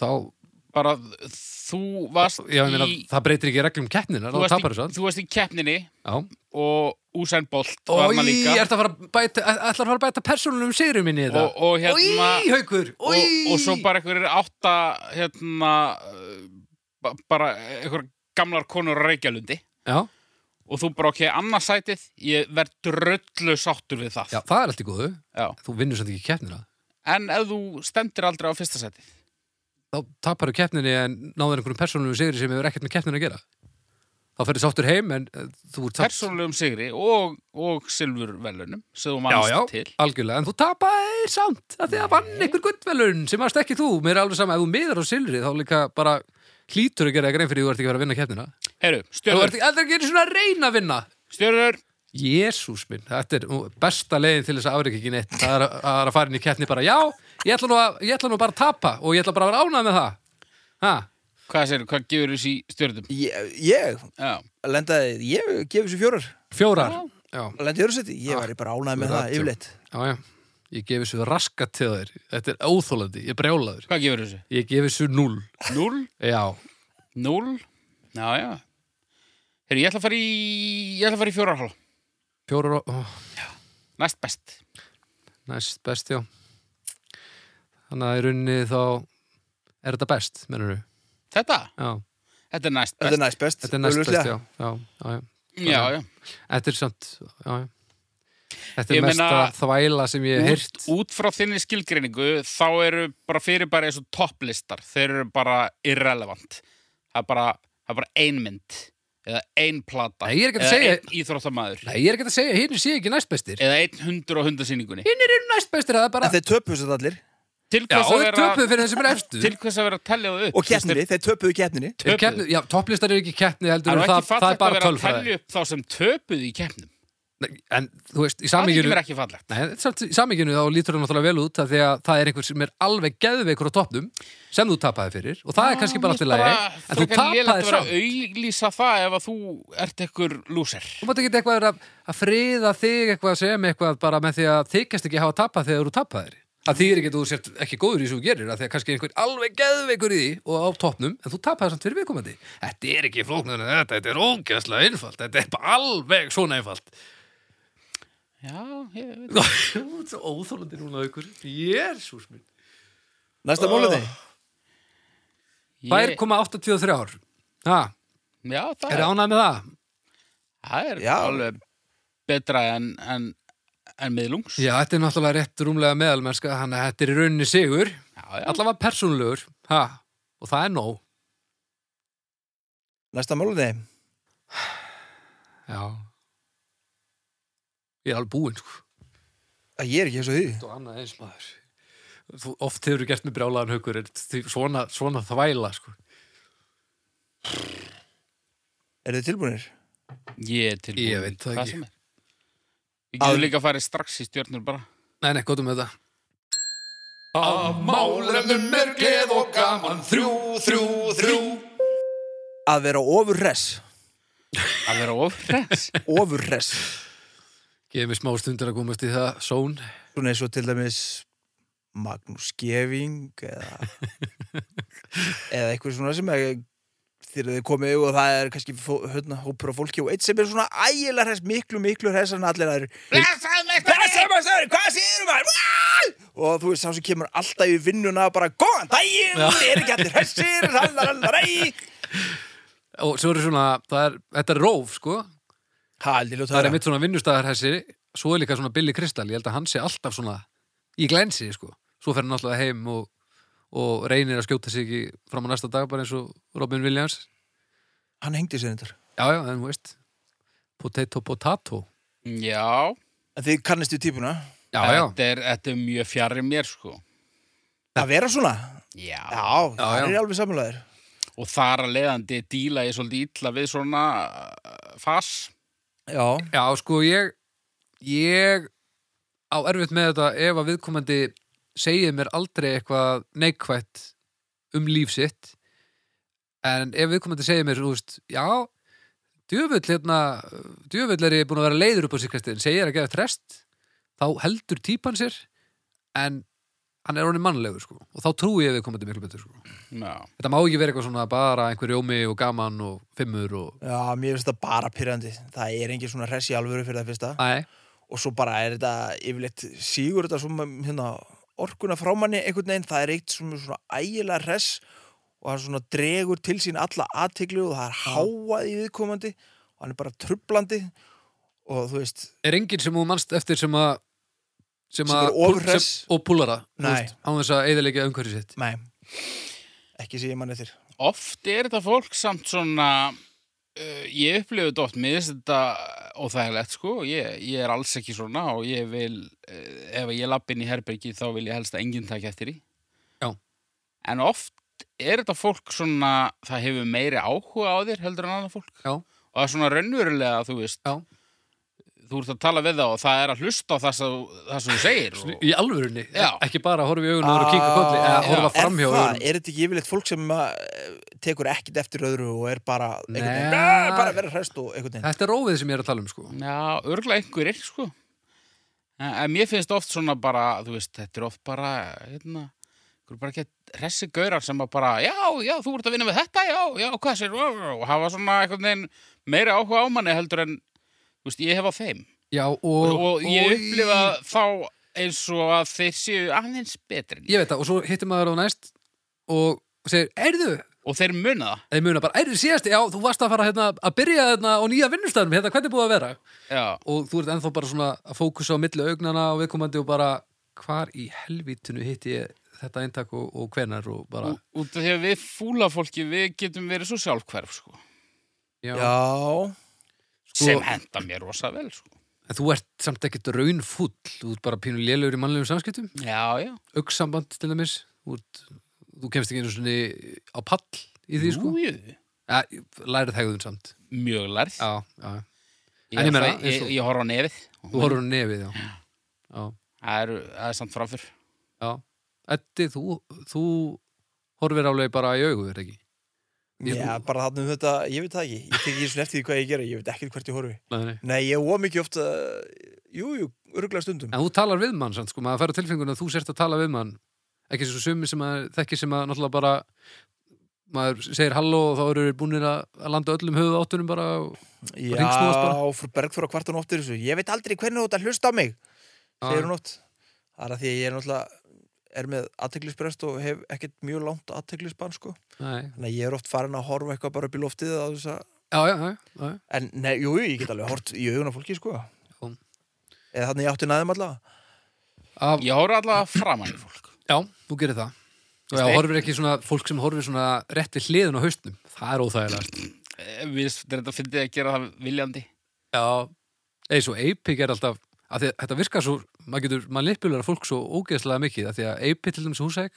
þá,
bara þú varst
já, ég meina,
í
það breytir ekki reglum keppnina,
þú
þá tapar
varst
þú
í, þú varst í keppninni
samt
og Usain Bolt
Ó,
var
í,
maður líka
ertu að fara að bæta e- ætlar að fara að bæta persónunum sigrum minni í
og,
það
og hérna
Í, haukur,
og,
í
og svo bara einhverjir átta hérna uh, ba- bara einhverjir gamlar konur á Reykjalundi
já,
og þú bara ok, annarsætið ég verð dröllu sáttur við það
já, það er allt í góðu
Já.
þú vinnur samt ekki keppnina
en ef þú stendur aldrei á fyrsta sætið
þá tapar þú keppninu en náður einhverjum persónunum sigri sem hefur ekkert með keppninu að gera þá ferði sáttur heim en eh, þú ert samt-
persónulegum sigri og, og silfurvelunum sem þú
já,
mannst
já,
til
algjörlega, en þú tapaði samt að því að vann einhver guttvelun sem varst ekki þú, mér er alveg sama, ef þú miðar á silri þá líka bara hlýtur að gera grein fyrir því þú ert ekki að vera að vinna keppnina þú
Heru,
ert
stjörnur,
ekki aldrei að gera svona að reyna að vinna
stjörnur
Jésús minn, þetta er nú besta leiðin til þess að afreika ekki neitt það er að, að er að fara inn í keppni bara, já, ég ætla nú, að, ég ætla nú bara að tapa og ég ætla bara að vera ánað með það ha,
hvað, segir, hvað gefur þessi stjörnum
ég, ég
já,
lendaði, ég gefi þessu fjórar
fjórar já,
lendi í öðru seti, ég væri bara ánæði
Ah,
með
þú
það
ratur.
yfirleitt
já, já, ég gefi svo raskat til þér þetta er óþólandi, ég er brjálaður
hvað gefur þessu?
ég gefi svo null,
Núl?
já,
Núl? Já, já. Heyrðu, ég ætla að fara í, ég ætla að fara í fjóra hálf.
fjórar og...
Næst best.
næst best, já þannig að í rauninni þá er þetta best, mennur við
Þetta?
já,
Þetta er næst
þetta
best.
er næst best,
þetta er næst
augljóslega.
best, já, já, já, já.
Já, já.
þetta er samt já, já. þetta
Ég
er mesta
meina-
þvæla sem ég hef
Út,
heyrt
út frá þinni skilgreiningu þá eru bara fyrir bara eins og topplistar. Þeir eru bara irrelevant. Það er bara, það er bara ein mynd. Eða ein plata.
Nei, ég er ekki að
eða
segja-
einn íþróttamæður.
nei, ég er ekki að segja, hinn sé ekki næst bestir
Eða einn hundur á hundasýningunni.
hinn er næst bestir, það er bara
en þeir töpuðu þetta allir
Til
já,
hvers
og
að
þeir
vera,
töpuðu fyrir þessum er efstu
til hvers að vera að tellja það upp?
og keppninni, þeir töpuðu keppninni
Þeir keppni, já, topplistar eru ekki keppni heldur en
Það er nú
það, það
ekki
er
fallegt að
bara
vera að
tölfræði
tellja upp þá sem töpuðu í keppnum.
Nei, En þú veist, í
Það
samíkinu
er ekki fallegt.
Nei, en samt í samíkinu þá lítur það náttúrulega vel út af því að það er einhver sem er alveg geðveikur á toppnum sem þú tapaði fyrir og það er kannski bara allt í lagi
Ah,
en þú tapaði samt
samt. Það er auðlýsa það ef að þú ert ekkur lúser.
Þú mátt ekki eitthvað vera að, að friða þig eitthvað sem eitthvað bara með því að þykjast ekki hafa tapað þegar þú tapaðir að því er ekki að þú sért ekki góður í sem þú gerir að því að kannski er einhver alveg geðveikur í því og á toppnum en þú tapaði samt fyrir viðkomandi Þetta er ekki flóknur en þetta, þetta er ógeðslega einfalt þetta er bara alveg svona einfalt
Já, ég veit.
Þú ert svo óþólandi núna aukur Jésús minn
Næsta
Ah.
oh. málefni
Bær koma 83 ár ha,
Já, það
Er
er,
ánægð með það?
það er
Já.
alveg betra en, en, en miðlungs.
Já, þetta er náttúrulega rétt rúmlega meðalmennska Þannig að þetta er í rauninni sigur
já, já.
Allavega persónulegur ha, Og það er nóg
Næsta málefni
Já Ég er alveg búinn sko.
að ég er ekki eins og því
Þetta var annað eins maður Þú oft hefur þú gert með brjálaðan haukur er því- svona, svona þvæla sko.
Er þið tilbúinir?
Ég er tilbúin.
Ég veit það
Hvað
ekki.
sem er. Ég getur
Að-
líka að fara strax í stjörnur bara.
Nei, nei, gotum með þetta Af málefnum er gleð og gaman Þrjú, þrjú, þrjú
Að vera ofurres
Að vera ofrens.
Ofurres
Gefið mér smá stundir að komast í það Són
Svona eins og til dæmis Magnús Geving eða eða eitthvað svona sem er þegar þið komið og það er kannski fó- hérna, hópur af fólki og eitt sem er svona ægilega hress, miklu, miklu hress en allir aðrir
Blessað með
Hvað segir maður, sagði, hvað segir maður? Vá! Og þú veist, sá sem kemur alltaf í vinnuna bara, góðan daginn, er ekki allir hressir, lalalalalai.
Og svo eru svona, það er, þetta er róf sko
Haldil og
það er einmitt svona vinnustæðar þessi svo er líka svona Billy Kristall, ég held að hann sé alltaf svona í glænsi, sko svo fer hann alltaf heim og, og reynir að skjóta sig ekki fram á næsta dag bara eins og Robin Williams
Hann hengdi sér þetta.
já, já, en þú veist potato, potato
Já,
En þið kannist við típuna.
já, já,
þetta er, þetta er mjög fjarrir mér sko.
Að vera svona?
Já.
Já, það
já.
er alveg sammálaður.
Og þar að leiðandi díla ég svolítið illa við svona uh, fas.
Já.
já, sko ég ég á erfitt með þetta ef að viðkomandi segir mér aldrei eitthvað neikvætt um líf sitt en ef viðkomandi segir mér, þú veist, já djöfull hérna djöfull er ég búin að vera leiður upp á síkastin segir að gera trest, þá heldur típan sér en hann er honum mannlegur sko og þá trúi ég viðkomandi miklu betur sko
Já.
þetta má ekki vera eitthvað svona bara einhver jómi og gaman og fimmur og
Já, mér finnst þetta bara pyrrandi. Það er engin svona hress í alvöru fyrir það fyrsta.
Æ,
Og svo bara er þetta yfirleitt sígur þetta svona hérna, orkuna frá manni einhvern veginn. Það er eitt svona, svona ægilega hress og hann svona dregur til sín alla aðteglu og það er háað í viðkomandi og hann er bara trublandi og þú veist,
er enginn sem þú manst eftir sem að sem
Sem
að
er ofurhress?
og púlara þú
Nei.
veist, án þess að eðalega umhverju sitt
nei, ekki sé ég mann eftir.
Oft er þetta fólk samt svona, uh, ég upplifði þetta oft, mér finnst þetta óþægilegt sko, ég, ég er alls ekki svona og ég vil, uh, ef ég lapp inn í herbergi þá vil ég helst að enginn takk eftir í.
Já.
En oft er þetta fólk svona, það hefur meiri áhuga á þér heldur en annað fólk.
Já.
Og það er svona raunverulega, þú veist,
Já.
þú ert að tala við það og það er að hlusta á það sem, það sem þú segir. Og...
í alvörunni, e-
Já.
ekki bara að horfa í augun og vera að kinka kolli, eða
Ah,
horfa
er
framhjá
það,
augun
er þetta ekki yfirleitt fólk sem að, eh, tekur ekkit eftir öðru og er bara einhvern veginn,
Nei.
"Ah, bara að vera hrest og einhvern veginn
þetta er rófið sem ég er að tala um sko
Já, örgla einhverjir, sko. En, en mér finnst oft svona bara, þú veist, þetta er oft bara, hérna, þú bara gett hressi gaurar sem að bara, já, já, þú ert að vinna með þetta, já, já, hvað sér, og hafa svona einhvern veginn meira áhuga á manni heldur en, þú veist, ég hef á þeim.
já, og,
Og, ég
og-
upplifa þá eins og að þeir séu aðeins betri. en ég.
ég veit það, og svo hittir maður á næst og segir, erðu
Og þeir muna það,
þeir muna bara, erðu síðast, já, þú varst að fara hérna, að byrja hérna á nýja vinnustæðum hérna, hvernig er búið að vera
já.
og þú ert ennþá bara svona að fókusa á milli augnana og viðkomandi og bara hvar í helvítinu hitti ég þetta eintak og, og hvenar og bara
Ú- Út af því að við fúla fólki, við getum verið svo sjálfhverf, sko.
Já,
Sko-
Sem henda mér rosa vel, sko.
En þú ert samt ekkert raunfúll, þú ert bara pínu lélegur í mannlegum samskiptum,
Já, já.
auksamband til dæmis, þú, ert, þú kemst ekki einu svona á pall í því sko.
Jú, jú.
Ja, læra þegðun samt.
mjög lærð
Já, já. En ég meina,
það-
eins
ég,
og-
ég horf á nefið
Þú horfður á nefið, já. Já,
það er, það er samt framfyr
já. Eddi, þú, þú horfir alveg bara í augu, er ekki? Ég-
Já, bara þarna um þetta, ég veit það ekki Ég tek ekki svona eftir því hvað ég gera, ég veit ekkert hvert ég horfi
Nei, nei.
Nei, ég var mikið oft að, jú, jú, örgulega stundum
En þú talar við mann, sant, sko, maður færa tilfengun að þú sért að tala við mann. Ekki svo sumi sem maður þekki sem að náttúrulega bara, maður segir halló og þá eru þeir búinir að að landa öllum höfuð áttunum bara. og-
Já,
hringsnúast bara.
frú Bergþóra kvartan oft er þessu Ég veit aldrei hvernig þú ert að hlusta á mig segir hún oft Það er að því að ég er náttúrulega er með aðteglisbrest og hef ekkert mjög langt aðteglisbann sko.
Nei.
Þannig að ég er oft farin að horfa eitthvað bara upp í loftið á þess að,
Já, já, já, já.
en nei, jú, jú, ég get alveg hort í augun á fólki sko.
Jú.
Eða þannig ég átti næðum allavega
Af,
ég horf allavega framan í fólk
já, þú gerir það. Og já,
Steik.
horfir ekki svona, fólk sem horfir svona rétt við hliðun á haustnum. Það er óþægilegast.
Eh, við þetta fyndið að gera það viljandi
Já, eins og Eipik er alltaf að því, að þetta virkar svo, maður getur manipulara fólk svo ógeðslega mikið, að því að Eipik til dæmis húsæk,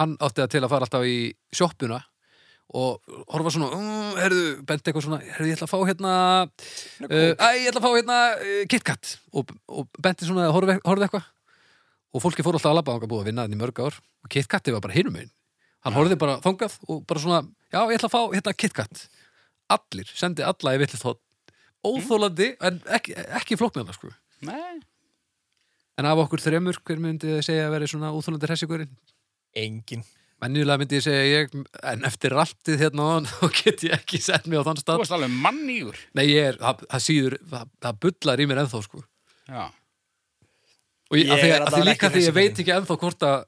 hann átti það til að fara alltaf í sjoppuna og horfa svona, um, herðu, benti eitthvað svona, herðu, ég ætla að fá hérna uh, æ, ég ætla að fá hérna uh, KitKat og, og benti svona að horfa, horfa eitthvað og fólki fór alltaf að labba þangað búið að vinna þannig mörg ár og KitKati var bara hinum einn hann horfði bara þangað og bara svona já, ég ætla að fá hérna KitKat allir, sendi alla í villið þótt óþólandi,
Mm.
en ekki, ekki flóknarna sko.
nei,
en af okkur þremur, hver myndi þið segja að vera svona óþólandi hressigurinn?
Engin
Mennilega myndi ég segja ég, en eftir raltið hérna á hann, þá get ég ekki sett mig á þann
þú
stað.
varst alveg mannýgur
Nei, ég er, það, það síður, það, það bullar í mér ennþá, sko.
já,
Og ég,
Ég
að því,
er
að því
allavega
líka
ekki
því ég
hressingurinn.
veit ekki ennþá hvort að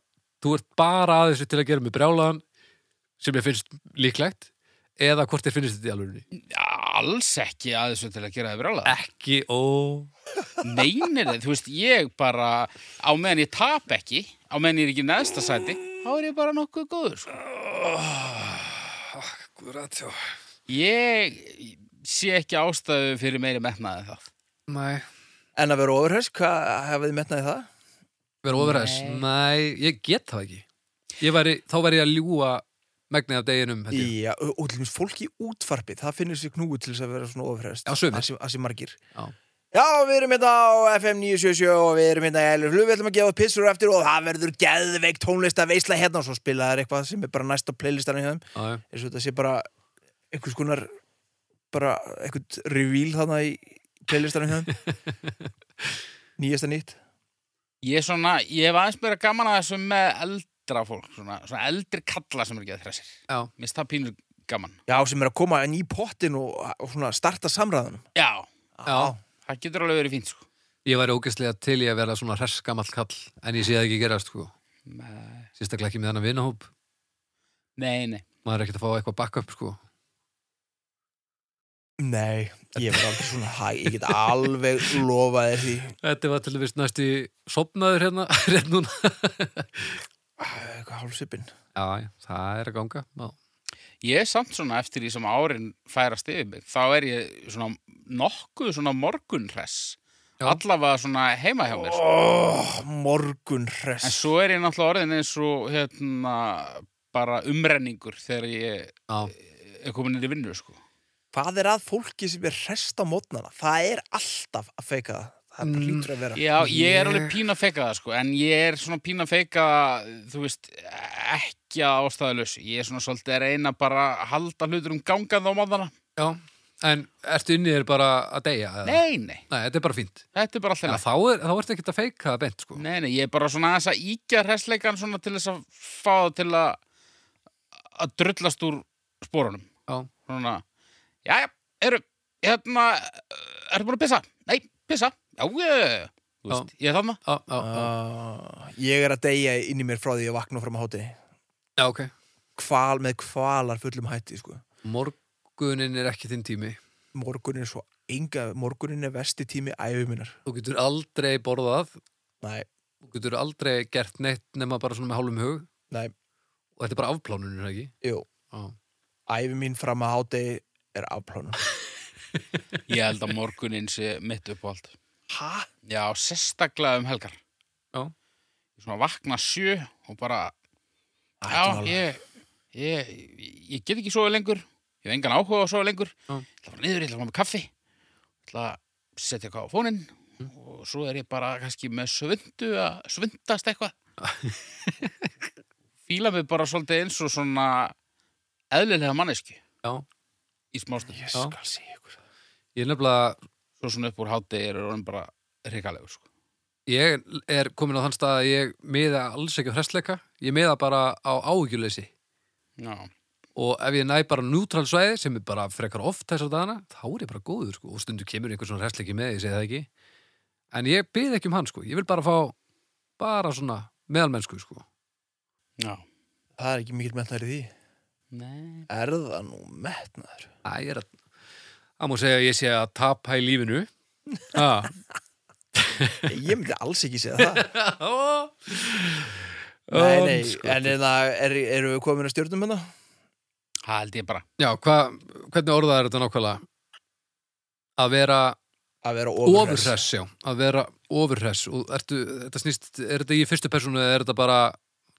þú ert bara að þessu til að gera mig brjálaðan, sem ég finnst líklegt, eða hvort þér finnst þetta í alveg.
alls ekki að þessu til að gera það brjálað
Ekki, ó,
Neinir þið, þú veist, ég bara á meðan ég tap ekki á meðan ég er ekki í neðsta sæti þá er ég bara nokkuð góður sko.
Ah, akkurat, já.
ég sé ekki ástæðu fyrir meiri metnaði en það
Nei,
En að vera ofurhers, hvað hefði þið metnaði það?
vera ofræðis.
Nei.
Nei, ég get það ekki. Ég væri, þá væri ég að ljúga megnið af deginum, held ég.
Já, og og til dæmis fólk í útvarpi það finnir sér knúi til þess að vera svona ofurhest
Já, sumir.
Asi margir
Já.
Já, við erum hérna á FM 977 og við erum hérna í Elur Flug, við ætlum að gefa út pissur eftir og það verður geðveik tónlist að veisla hérna og svo spila þær eitthvað sem er bara næst á playlistanum hjá þeim
Já, já.
eins og þetta sé bara einhvers konar bara einhvern reveal þarna í playlistanum hjá þeim nýjasta nýtt
ég, svona, ég hef aðeins meira gaman að þessu með eldra fólk svona, svona eldri kalla sem er ekki að þressir
Já.
mér finnst það pínur gaman
Já, sem er að koma inn í pottin og, og svona starta samræðunum
já,
Já.
það getur alveg verið fínt sko.
Ég væri ógeðslega til í að vera svona hreskamall kall en ég sé það ekki gerast sko.
nei,
Sérstaklega ekki með þennan vinahóp
nei,
maður er ekkert að fá eitthvað backup sko.
Nei, ég var aldrei svona hæ, ég get alveg lofa þér því
Þetta var til dæmis næst í sopnaður hérna rétt núna
Æ, eitthvað hálfsipin
Já, já, það er að ganga Já,
ég er samt svona eftir því sem árin færast yfir mig þá er ég svona nokkuð svona morgunhress
Já.
allavega svona heima hjá mér sko.
oh, Morgun
en
hress
svo er ég náttúrulega orðin eins og hérna bara umrenningur þegar ég
já,
er komin inn í vinnu sko.
Hvað er að fólki sem er hrest á mótnana? Það er alltaf að feika það Það er bara
Mm,
hlýtur að vera
Já, ég er
Ég-
alveg pína feika það sko, en ég er svona pína feika þú veist, ekki að ástæðalös. Ég er svona svolítið að reyna bara að halda hlutur um gangað á maðana.
já. En ertu inni þér bara að deyja? eða?
Nei, nei,
Nei, þetta er bara fínt
þetta er bara
Já,
alltaf leið.
þá, er, þá ertu ekkert að feika það bent sko.
Nei, nei, ég er bara svona aðeins að íkja hressleikan svona til þess að fá það til að að drullast úr spórunum.
Já,
Svona, já, já, eru, hérna, ertu búin að pissa? Nei, pissa, já, ég, þú veist, ég er þarna.
já, já, já,
Uh, ég er að deyja inn í mér frá því að vakna fram á háti
já ok
Kval með kvalar fullum hætti sko.
Morgunin er ekki þinn tími
Morgunin er svo enga Morgunin er vesti tími æfuminnar
Þú getur aldrei borðað
Nei,
Þú getur aldrei gert neitt nema bara svona með hálfum hug
nei,
og þetta er bara afplánunir, ekki?
jú
Já.
Æfi mín fram á háti er afplánum
Ég held að morgunin sé mitt uppáhald.
Hæ?
Já, sérstaklega um helgar.
Já.
Ég Svona vakna sjö og bara, já, ég, ég, ég get ekki sofið lengur, ég hef engan áhuga á að sofa lengur,
Já.
ég ætla að fara niður, ég ætla að fá mig kaffi ætla að setja eitthvað á fóninn
Mm.
og svo er ég bara kannski með svundu að svundast eitthvað fíla mig bara svolítið eins og svona eðlilega mannesku
Já.
í smástund
Ég
Já.
skal sé ykkur það.
Ég er nefnilega,
svo svona upp úr hátegir og hann bara hrikalegur sko.
ég er komin á þann stað að ég miða alls ekki á hressleika, ég miða bara á áhyggjuleysi
já,
og ef ég næ bara neutral svæði sem er bara frekar oft þessar dagana, þá er ég bara góður sko og stundu kemur einhver svona hressleiki með, ég segi það ekki en ég bið ekki um hann sko, ég vil bara fá bara svona meðalmennsku sko
já
það er ekki mikill metnaður í því
Nei.
er það nú metnaður
Æ, ég er að það má segja að ég sé að tapa í lífinu ah.
ég myndi alls ekki segja það nei,
Um,
nei,
sko.
en er, er, erum við komin að stjórnum hérna?
það held ég bara
Já, hva, hvernig orðað er þetta nákvæmlega? Að vera
að vera ofurhress
ofurhress, já, að vera ofurhress og ertu, þetta snýst, er þetta í fyrstu persónu eða er þetta bara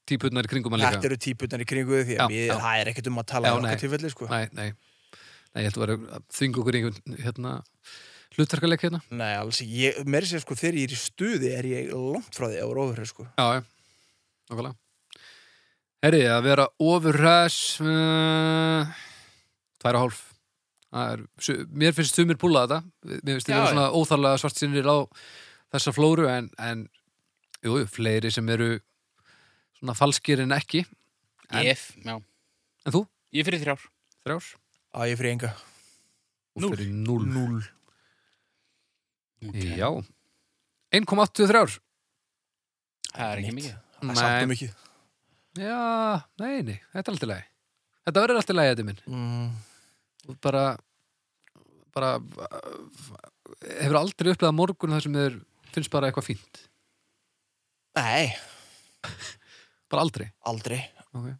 típutnar í kringum hann líka?
þetta eru típunar í kringu því
Já,
að mér,
já.
það er ekkert um að tala
Já,
um
nei.
okkar tilfelli sko.
Nei, nei, nei, ég ætla að vera að þynga okkur í einhvern, hérna, hlutverkaleik hérna
nei, alls ekki, ég, mér sé sko þegar ég er í stuði er ég langt frá því að vera ofurhress sko.
Já, já, nákvæmlega Herri, að vera ofurhress uh, Tvær og hálf Það er, su- Mér finnst sumir púla þetta Mér finnst
Já,
þetta
já.
svona óþarlega svart sinnir á þessa flóru en, en jú, jú, fleiri sem eru svona falskir en ekki En-
ég, já.
En þú?
ég er fyrir þrjár
Þrjár?
að ég er fyrir enga
Og
Núll.
fyrir núll
Núll.
Ok.
Já 1,83
það er ekki
Nýtt.
mikið
það er samt um ekki
Já, nei, nei, þetta er alltaf lægi Þetta verður alltaf lægi, þetta minn
mm,
og bara bara hefur aldrei upplegað morgun þar sem þeir finnst bara eitthvað fínt
nei,
bara aldrei
aldrei
okay.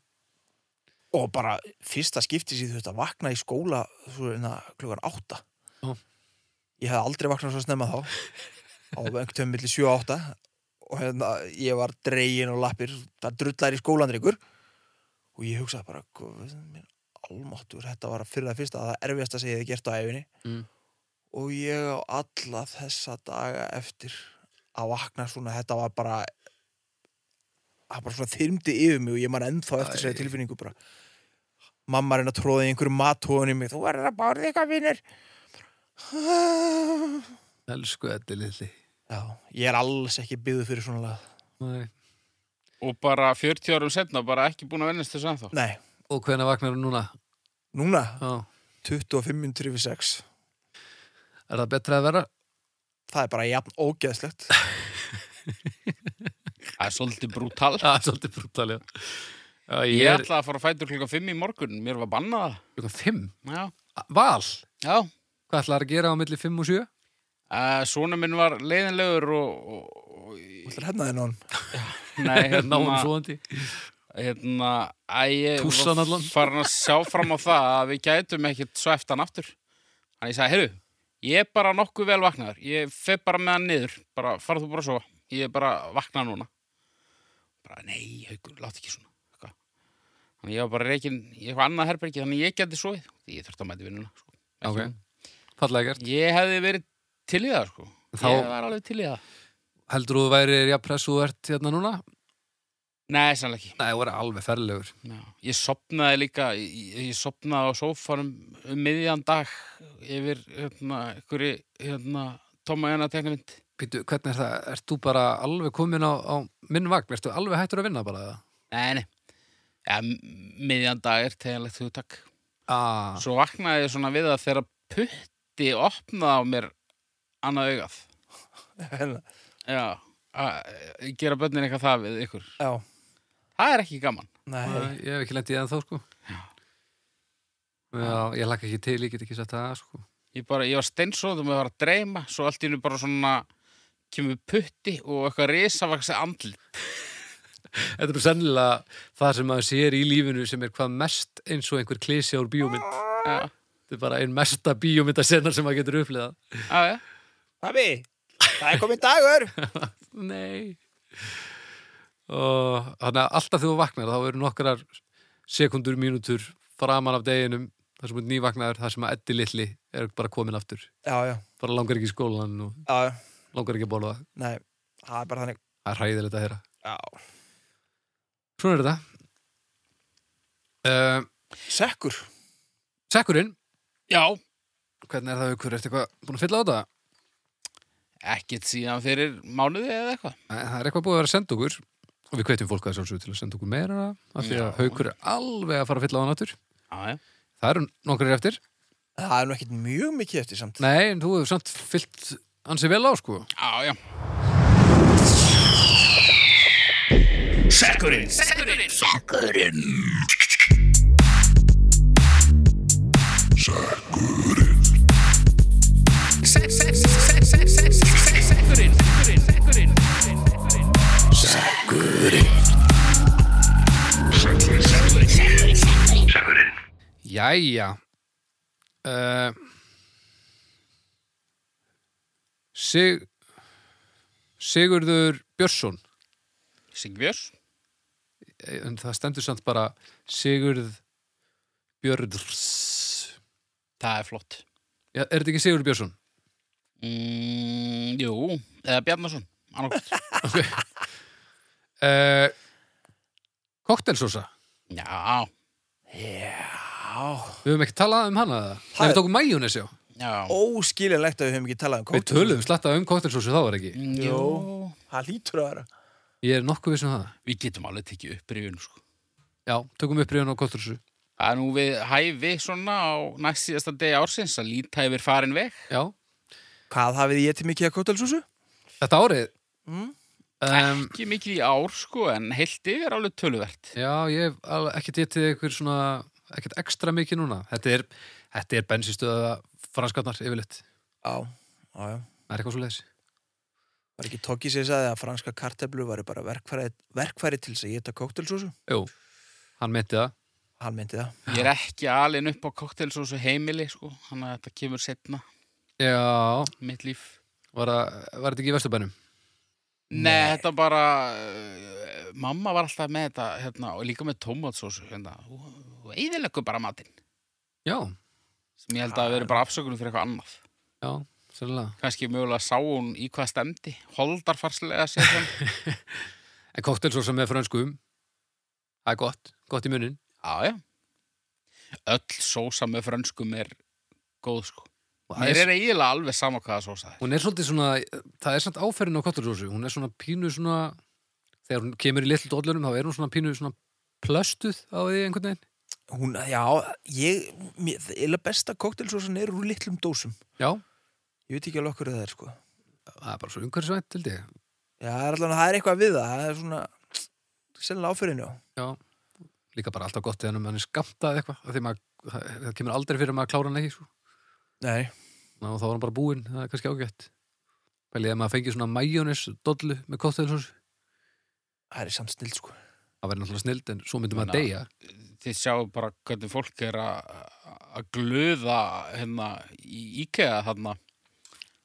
og bara fyrsta skipti sér þú veist að vakna í skóla svo, na, klukkan átta
Já.
ég hef aldrei vaknað svo snemma þá á einhvern tömum milli 7 og 8 og hérna, ég var dregin og lappir það drullar í skólandryggur og ég hugsaði bara "Guð minn almáttur, þetta var fyrir það fyrsta það erfiðasta sem ég hefði gert á æfinni
Mm.
og ég á alla þessa daga eftir að vakna svona, þetta var bara það bara svona þyrmdi yfir mig og ég man ennþá eftir sér tilfinningu bara mamma reyna að tróða í einhverju matóðun í mig þú verður að bára þig eitthvað vinnur
elsku þetta liðli
já, ég er alls ekki byggðu fyrir svona lag
og
og bara 40 árum setna og bara ekki búin að vennast þessu ennþá
nei,
hvenær vaknar hún núna?
núna
Já.
25 minntur yfir 6
er það betra að vera?
það er bara jafn ógeðslegt
það er svolítið brútal
það er svolítið brútal já. Já,
ég
ég er
ætlaði að fara að fæta klukka 5 í morgun mér var bannað
klukkan 5
það. já,
val,
já
hvað ætlar að gera á milli 5 og 7?
Uh, Sónu minn var leiðinlegur og, og, og
Þú ætlar að hefna þér nón
nei,
náum svoandi
hérna æ, ég
Pússan
var
allan.
farin að sjá fram á það að við gætum ekkert svo eftir hann aftur Þannig ég sagði, heyrðu, ég er bara nokkuð vel vaknaður ég fer bara með hann niður bara farðu bara svo, ég er bara vaknað núna bara, nei, haukur, látt ekki svona eitthvað. þannig ég var bara reikin í eitthvað annað herbergi þannig ég geti svoið, ég þurfti að mæti vinnuna sko. Ekki
Ok.
mál.
fallega gert,
ég hefði verið til í það sko.
Þá-
ég var alveg til í það
heldur þú væri jafnpress og ert hérna núna?
nei, sannlega ekki
nei, þú er alveg ferlegur
Já, ég sopnaði líka, ég, ég sopnaði á sófanum um miðjan dag yfir hérna, einhverju hérna, Toma Jana teknumynd.
Pítu, hvernig er það, ert þú bara alveg komin á, á minn vagn, ert þú alveg hættur að vinna bara það?
Nei, nei, ja, m- miðjan dag er teginlegt hugtak.
Ah,
Svo vaknaði ég svona við að þegar putti opnaði á mér annað augað.
já,
Já, að, gera börnin eitthvað það við ykkur. Það er ekki gaman.
nei,
Nei, ég hef ekki lendið það þá sko Já, ég lakka ekki til, ég get ekki sagt það sko
Ég, bara, ég var steinsóðum að var að dreyma, svo allt í hennu bara svona kemur putti og eitthvað risavaksi andlit.
Þetta er bara sennilega það sem maður sér í lífinu sem er hvað mest eins og einhver klísi úr bíómynd
Já,
Þetta er bara einn mesta bíómyndasennar sem maður getur upplifað
já, já.
pabbi, það er komin dagur
Nei Og þannig að alltaf þegar þú vaknar þá eru nokkrar sekundur, mínútur framan af deginum þar sem þú er nývaknaður, þar sem að Eddi litli er bara komin aftur
já, já,
bara langar ekki í skólan og
já,
langar ekki að borða
nei, það er bara þannig
það er hræðilegt að heyra
já.
svona er þetta uh,
sekkur
Sekkurinn,
Já,
hvernig er það aukur, ertu eitthvað búin að fylla á þetta?
ekkert síðan fyrir mánuði eða eitthvað.
Nei, Eh, það er eitthvað búið að vera að senda okkur og við hvetjum fólk að sjálfsögðu til að senda okkur meira af því að
Já.
haukur er alveg að fara að fylla á hann áttur
Já, já.
það eru nokkrir eftir
það er nú ekkit mjög mikið eftir samt
nei, en þú hefur samt fyllt ansi vel á sko
Já, já.
jæja uh, Sig Sigurður Björnsson Eh,
Sigbjörns.
en það stendur samt bara Sigurð Björns
Það er flott.
Já, er þetta ekki Sigurður Björnsson?
Mm, jú, eða Bjarnason. Annarkvæmt.
Uh, Koktelsósa
já,
já,
Við höfum ekki talað um hana það? Nei,
Það
við
er-
tókum majónes, já.
já.
óskiljanlegt að við höfum ekki talað um
Við
kóktel
töluðum slatta um koktelsósu þá var ekki.
Mm,
Jú. það lítur að vera
Ég er nokkuð vissum það.
Við getum alveg tekið upp rifun, sko.
Já, tökum upp ríðan á koktelsósu.
Það er nú við hæfi svona á næst síðasta degi ársins að líta yfir farin veg.
Já,
hvað hafið ég til mikið að kóktelsúsu?
þetta árið.
Mm.
Um,
Ekki mikið í ár, sko, en heilt yfir alveg töluvert.
já, ég hef alveg ekkert getið ykkur svona, ekkert ekstra mikið núna. Þetta er, þetta er bensinstöða franskatnar yfirleitt.
já, já, já
Það er eitthvað svo leiðis.
Var ekki Toggi sem sagði að franska karteflu var bara verkfæri, verkfæri til þess að geta kóktelsósu?
Jú, hann myndi það.
Hann myndi það.
Ég er ekki alin upp á koktelsósu heimili, sko, þannig að þetta kemur setna,
Já,
mitt líf.
var, að, var þetta ekki í Vesturbænum?
Nei, þetta bara, uh, mamma var alltaf með þetta, hérna, og líka með tómatsósu, hérna, og eðilegur bara matinn,
Já,
sem ég held að veri bara afsökunum fyrir eitthvað annað.
já, sérlega.
Kannski mögulega sá hún í hvað stemdi, holdarfarslega sér hann.
En koktelsósa með frönskum, það er gott, gott í munin.
Já, já. Öll sósa með frönskum er góð, sko.
Og það
Mér er eiginlega alveg sama hvaða sósa það er.
hún er svolítið svona, það er samt áferðin á kottursósu, hún er svona pínu svona, þegar hún kemur í litlu dollunum þá er hún svona pínu svona plöstuð á því einhvern veginn.
Hún, já, ég, mér, eða besta kóktelsósan er úr litlum dósum.
Já,
Ég veit ekki alveg okkur það er, sko.
það er bara svo umhverfisvænt, held ég.
Já, það er allan, það er eitthvað við það. Það er svona, sennilega áferðinu.
Já, líka bara alltaf gott þegar hann er skamtað eitthvað, af því maður, það, það kemur aldrei fyrir að maður klára hann ekki, sko.
Nei,
Ná, þá var hann bara búinn, það er kannski ágætt. Pælið að maður fengi svona majónis dollu með kottursósu,
það er samt snill, sko.
það verður náttúrulega snild, en svo myndum
Ná.
að deyja.
Þið sjáu bara hvernig fólk er að að glöða hérna í IKEA þarna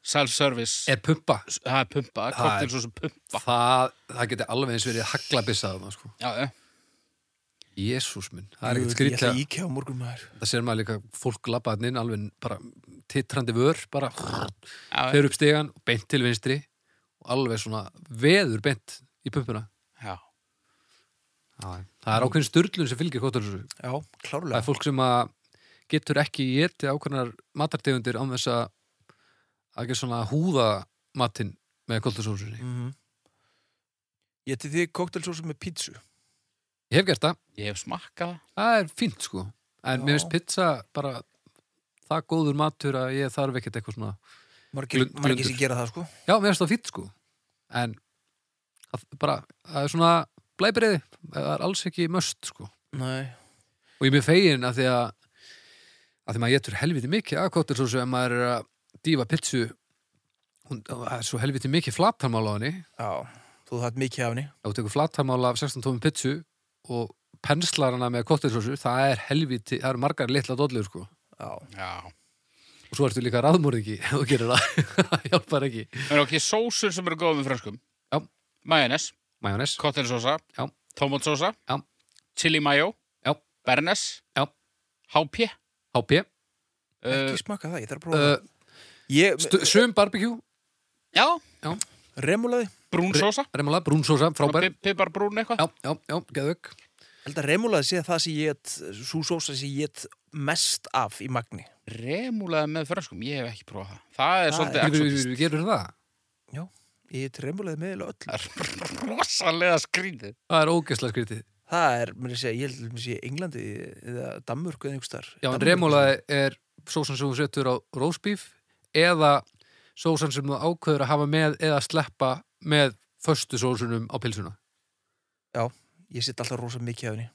self-service,
Er pumpa,
það er pumpa,
Það er-
koktel svo sem pumpa.
það, það geti alveg eins verið haglabissað, sko.
Já, já.
Jésús minn, það er
Jú,
ekkert
Ég
skrýtlega
ætla að íkja á morgun maður.
það sér maður líka fólk labbaðin inn alveg bara titrandi vör bara
já, já.
fer upp stegan, beint til vinstri og alveg svona veður beint í pumpuna
já.
það er ákveðin sturlun sem fylgir kóttalsösu
Já,
það
klárlega.
er fólk sem að getur ekki getið ákveðnar matartegundir án þess að að gera svona húða matinn með kóttalsösunni
Mm -hmm. Ég til því kóktelsósa með pítsu.
ég hef gert það,
Ég hef smakkað það.
það er fínt sko en
Já.
mér finnst pizza bara það góður matur að ég þarf ekkert eitthvað svona
Margir,
Glund-
margir
glundur.
sem gera það, sko.
Já, mér finnst það fýtt sko En það, bara, það er svona blæbriði, það er alls ekki möst sko
Nei.
Og ég er mér fegin að því að að því maður getur helviti mikið að kóttir svo sem maður er að dýfa pitsu hún það er svo helviti mikið flatarmál á henni
Já, þú þátt mikið af henni.
ef þú tekur flatarmál af 16 tómum pitsu og penslar hana með kóttirsósu það er helviti, það eru margar litla dollur sko
Já.
Já.
og svo ertu líka ráðmórðingi ef þú gerir það, það hjálpar ekki
Það er okkur sósur sem eru góð með frönskum.
Já.
Majónes,
Majónes,
koktelsósa,
Já.
tómatsósa,
Já.
chili mayo,
Já.
bernes,
Já.
HP.
HP
Ekki smaka það, ég þarf að prófa
uh,
það. Ég,
Eh, Stu- Sum barbecue,
Já,
remúlaði,
brún sósa
remala, brúnsósa, frábær.
Pippar brún eitthvað
Já, já, já, geðvögg.
held að remúlaði sé það sem ég get, sú sósa sem ég get mest af í magni.
Remúlaði með frönskum, ég hef ekki prófað það Það er
Það
svolítið
Við
exotist
við- við gerum það.
Já, ég get remúlaði með eiginlega öllu.
Það er rosalega skrítið
Það er ógeðslega skrítið.
Það er, mér sé, ég held að mér sé Englandi eða Danmörku eða einhvers þar.
Já, en
Danmörku.
remúlaði er sósan sem þú setur á rósbíf eða sósan sem þú ákveður að hafa með eða sleppa með föstu sósunum á pilsuna.
Ég sitt alltaf rosa mikið af henni.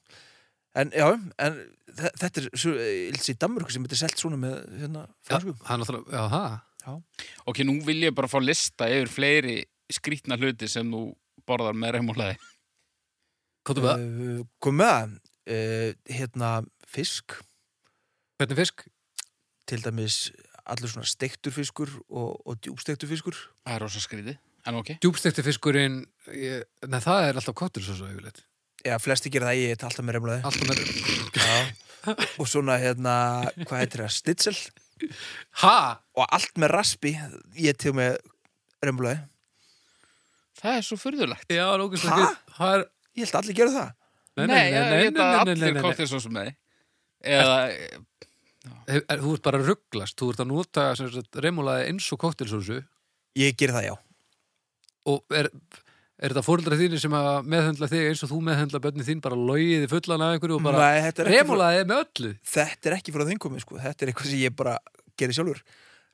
En já, en þe- þetta er, svo- ég held að sé Danmörku sem þetta er selt svona með hérna
Já,
franskum.
það er náttúrulega, já, það.
Ok, nú vil ég bara fá lista yfir fleiri skrítna hluti sem þú borðar með remúlaði
Hvað þú veða?
Uh, kom með það, uh, hérna fisk,
Hvernig fisk?
til dæmis allur svona steiktur fiskur og, og djúbsteiktur fiskur.
Það er rosalega skrítið En ok,
Djúbstekti fiskurinn, ég, nei, það er alltaf kottur svo svo yfirleitt.
Já, flesti gera það, ég get alltaf með remlaði.
Alltaf með,
Já. og svona hérna, hvað heitir það, stitzel
ha?
og allt með raspi, ég til með remlaði.
það er svo furðulegt
Já, það er ógeðslega
Ha?
skrítið. Það er,
Ég held að allir gera það.
nei, nei, nei, nei, nei,
ég
nei,
veit
nei,
að
nei,
allir
nei, nei.
kóttir svo sem þeir Eða,
Hef- er- Þú ert bara að rugglast, þú ert að nota sem sagt, remúlaði eins og kottilsósu
Ég ger það, já.
og er, er þetta fóreldra þínir sem að meðhendla þig eins og þú meðhendla bönni þín bara logiði fullan af einhverju og bara
Nei, þetta, er ekki frá,
remúlaði með öllu
þetta er ekki frá þeim komið, sko. Þetta er eitthvað sem ég bara gerir sjálfur.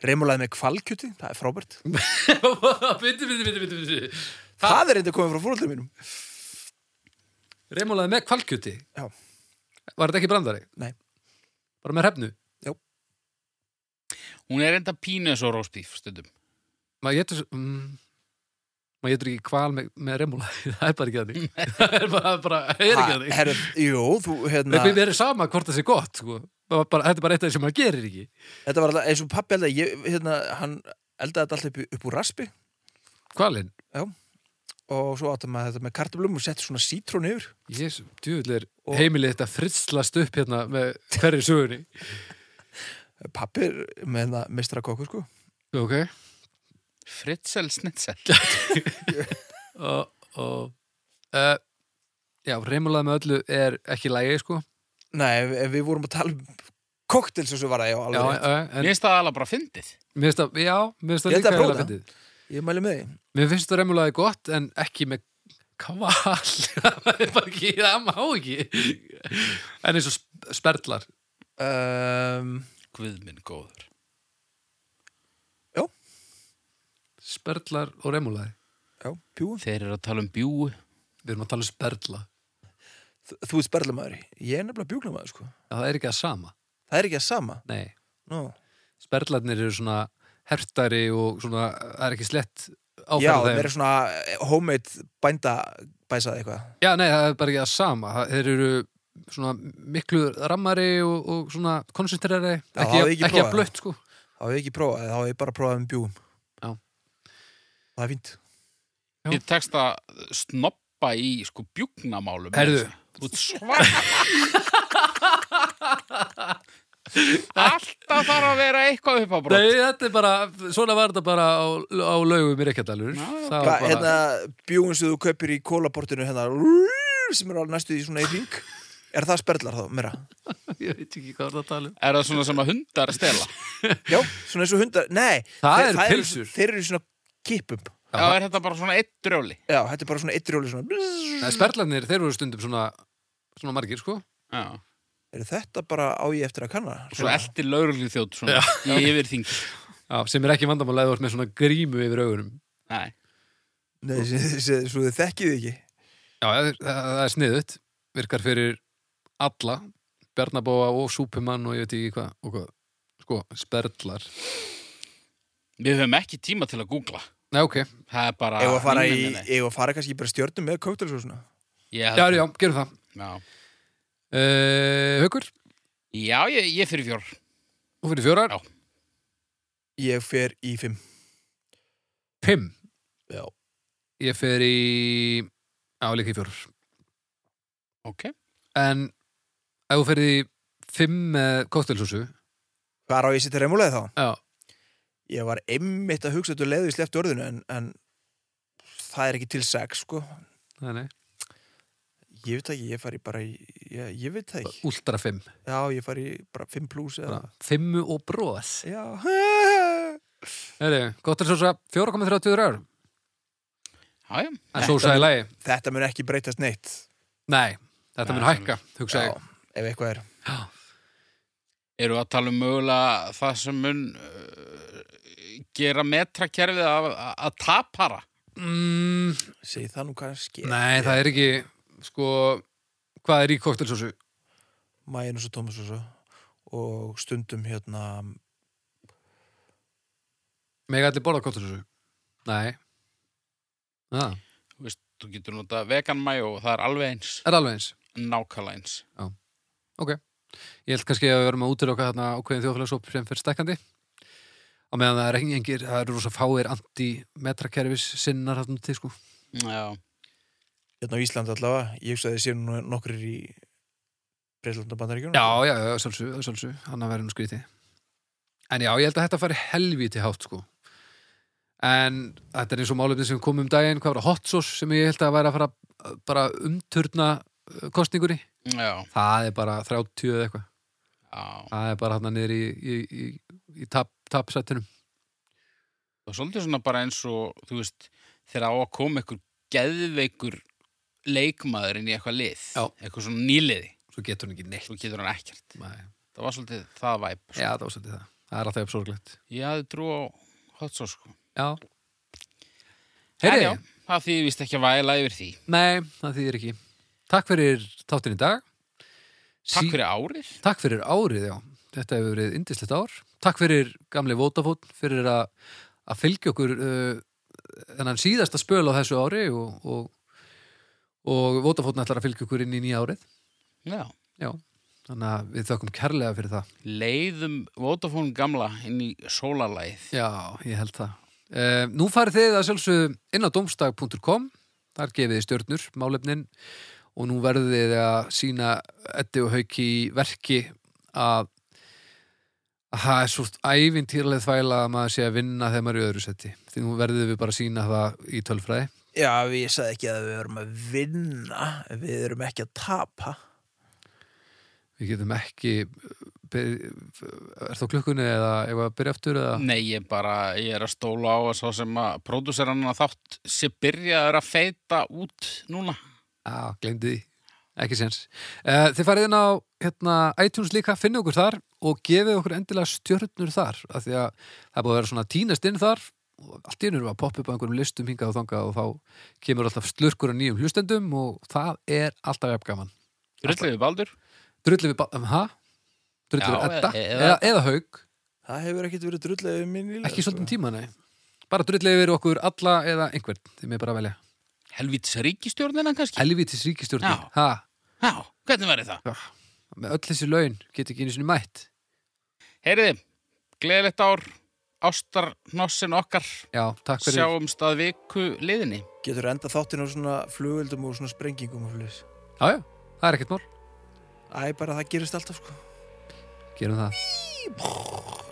Remulaði með kvalkjöti, það er frábært. Það,
Bindu, bindu, bindu, bindu, bindu.
er eitthvað komið frá fóröldum mínum.
Remúlaði með kvalkjöti
Já.
Var þetta ekki brandari?
Nei.
Bara með hrefnu?
hún er enda pínu eins og rósbíf stundum
Maður getur, mm, maður getur ekki kval með, með remúlaði Það er bara ekki að því Það er bara, bara er ekki að
Ha,
því
herru, Jú, þú, hérna,
Mér er sama hvort það sé gott sko. Bara- bara- Þetta er bara eitt af því sem maður gerir ekki
þetta var alltaf, eins og pappi eldaði, ég, hérna, hann eldaði þetta alltaf upp, í- upp úr raspi
Kvalinn?
og svo átti maður þetta með kartablum og setti svona sítrón yfir.
Jésu, djúvill er
Og-
heimilið þetta fritslast upp hérna með hverju sögunni
Pappi er með hérna meistara kokku, sko.
Ok
Fritzel Snitzel
og, og uh, já, reymulað með öllu er ekki lægi sko
Nei, ef, ef við vorum að tala um koktel sem svo var það, já,
já,
alveg.
uh, en
Mér
mér
finnst það alveg bara fyndið
finnst það, já, mér finnst það líka
Ég ætla að
eiginlega
prófa það.
fyndið.
Ég mæli með því.
mér finnst það reymulaði gott en ekki með kval það er bara ekki, það má ekki en eins og sp- sperlar
Um,
Guð minn góður
sperlar og reymulaði
já, pjú.
Þeir eru að tala um bjúu
við erum að tala um sperla
Þú, þú ert sperlamæður. Ég er nefnilega bjúklamæður, sko.
já, það er ekki að sama,
Það er ekki að sama.
nei
Nú.
sperlarnir eru svona hertari og svona, það er ekki slett
Já,
áferð á
það
þeim.
er svona eh, homemade bænda bæsað eitthvað.
Já, nei, það er bara ekki það sama. Það, þeir eru svona miklu rammari og, og svona konsentrerari.
Já,
Ekki,
það
að-
hafði ekki
ekki að
prófað
blött, sko.
Þá hef ég ekki prófað, þá hef ég bara prófað með bjúum.
Já.
Það er fínt.
Já.
Ég tekst að snoppa í sko bjúknamálum
Heyrðu.
Þú ert svart Alltaf þarf að vera eitthvað upp á brot
Nei, þetta er bara, svona var þetta bara á, á laugum í Reykjadalur.
Já, já.
Það
Hva,
var bara,
hérna, bjúum sem þú kaupir í kólaportinu hérna, sem er alveg næstu í svona í hring, er það sperlar þá, meira?
ég veit ekki hvað það tala um.
Er það svona sem að hundar stela?
Já, svona eins og hundar, nei.
Það
þeir-
eru pilsur.
Þeir eru í svona kipum.
Já, er þetta bara svona eitt drjóli?
Já, þetta er bara svona eittrjóli svona.
Nei, sperlarnir, þeir voru stundum svona, svona margir, sko.
Já.
Er þetta bara á ég eftir að kanna?
Og svo eldi lauruglu þjótt svona í yfirþing.
Já, sem er ekki vandamál eða þú ert með svona grímu yfir augunum.
Nei.
Nei, svo, svo, svo þið þekkið þið ekki.
Já, það, það, það er sniðut. Virkar fyrir alla. Bjarnabóa og Súpimann og ég veit ekki hvað. Og hvað. Sko, sperlar.
Við höfum ekki tíma til að googla.
Nei, ok.
Það er bara...
Ef að fara
Ah, Nei,
í,
nei, nei.
ef að fara kannski bara í stjörnum með kóktelsósuna.
Ég
Já,
held-
já, gerum það.
Já,
Uh, Haukur,
já ég, ég fyrir fjór.
þú fyrir fjórar.
Já.
Ég fer í fimm.
Pimm.
Já.
Ég fer í... Já, líka í fjórar.
Ok.
En ef þú fer í fimm með kóttelsósu,
Hvað er á ég setja remulega þá?
já,
ég var einmitt að hugsa þetta leiði sleft orðinu en, en það er ekki til sex sko
Nei, nei.
ég veit það ekki, ég fari bara í ég, ég veit það ekki,
Ultra 5.
já ég fari í bara 5 plus eða,
Fimmu og bróðs.
já
Heri, gott er svo svo 4,30 rör.
Já, já.
En svo sagði lægi.
þetta mun ekki breytast neitt
Nei, þetta mun
Nei.
hækka, hugsa
já,
ég.
ef eitthvað er
Eru að tala um mögulega það sem mun uh, gera metrakerfið að, að tapara?
Mm,
segi það nú kannski,
nei, það er ekki, sko, hvað er í koktelsósu?
Majanus og Thomas og svo og stundum hérna
Mega allir borða koktelsósu? Nei. Ah, Það
Þú veist, þú getur nota vegan mayo og það er alveg eins,
er alveg eins.
nákvæmlega eins.
Ég held kannski að við verum að útiloka þarna ákveðin þjóðfélagsóp sem fyrir stækandi. Á meðan það er engin, engir, það eru rosa fáir anti-metrakerfis sinnar þarna til, sko.
Já,
hérna á Íslandi allavega, ég hugsa að þið séu nú nokkur í Breitland og Bandaríkjunum
Já, já, já, sjálfsög, sjálfsög, hann að vera nú skrítið. En já, ég held að þetta fari helvíti hátt, sko. En þetta er eins og málefni sem kom um daginn, hvað var það, hot sauce, sem ég held að væri að fara uh, bara umturna uh, kostningunni.
já,
Það er bara 30 eða eitthvað.
já.
Það er bara hann niður í, í, í, í tap, tapsættinum.
Það er svolítið svona bara eins og, þú veist, þegar á að koma einhver geðveikur leikmaður inn í eitthvað lið,
Já.
eitthvað svona nýliði,
Svo getur hann ekki neitt.
svo getur hann ekkert.
Nei.
Það var svolítið það væp. sko.
Já, það var svolítið það. Það er alltaf jafn sorglegt.
Ég hafði trú á hot sauce, sko.
Já.
En
Heyri,
já, það því vist ekki að væla yfir því.
nei, það þýðir ekki. Takk fyrir þáttin í dag.
Takk
Sí-
fyrir árið.
Takk fyrir árið, já. Þetta hefur verið indislegt ár. Takk fyrir gamli Votafótt, fyrir að, að fylgja okkur uh, þennan síðasta spöl á þessu ári og, og, og Votafóttn ætlar að fylgja okkur inn í nýja árið.
Já.
Já, þannig að við þökkum kærlega fyrir það.
leiðum Vodafone gamla inn í sólarlæð
Já, ég held það. Uh, nú farið þið að sjálfsögðu inn á domstag.com, þar gefið þið stjörnur, málefnin og nú verðið þið að sína Eddi og Hauki í verki að að það er svo ævintýrlega þvæla að maður sé að vinna þegar maður er í öðru seti. Því nú verðið við bara að sína það í tölfræði.
já við- ég sagði ekki að við erum að vinna við erum ekki að tapa
Við getum ekki, eh, er þá klukkunni eða ef að byrja aftur eða?
Nei, ég bara, ég er að stóla á að svo sem að pródúserann að þátt sé byrjaður að feita út núna
Já, glemdi því. Ekki sens. Uh, þið farið inn á hérna, iTunes líka, finnið okkur þar og gefið okkur endilega stjörnur þar af því að það er búið að vera svona tínast inn þar og allt í einu erum við að poppa upp á einhverjum listum hingað og þangað og þá kemur alltaf slurkur af nýjum hlustendum og það er alltaf jafn gaman.
Rulliði Baldur
Drullum við bara, um, ha? Drullum
Já, e-
við edda?
eða-
Eða, eða haug?
það hefur ekkert verið drullega við sko. minni
Ekki svolítið tíma, nei. Bara drullum við okkur alla eða einhvern, þið með bara velja.
Helvítis ríkistjórnina kannski
Helvítis ríkistjórnir,
Já.
ha?
Já, hvernig verið það?
Með öll þessi laun get ekki einu sinni mætt.
Heyriði, gleðilegt ár ástarnossin okkar
Já, takk fyrir.
sjáumst að viku liðinni
getur enda þáttinn á svona flugöldum og svona sprengingum og flis
Já, já, það er ekkert mál.
æ bara það gerist alltaf sko
Gerum það.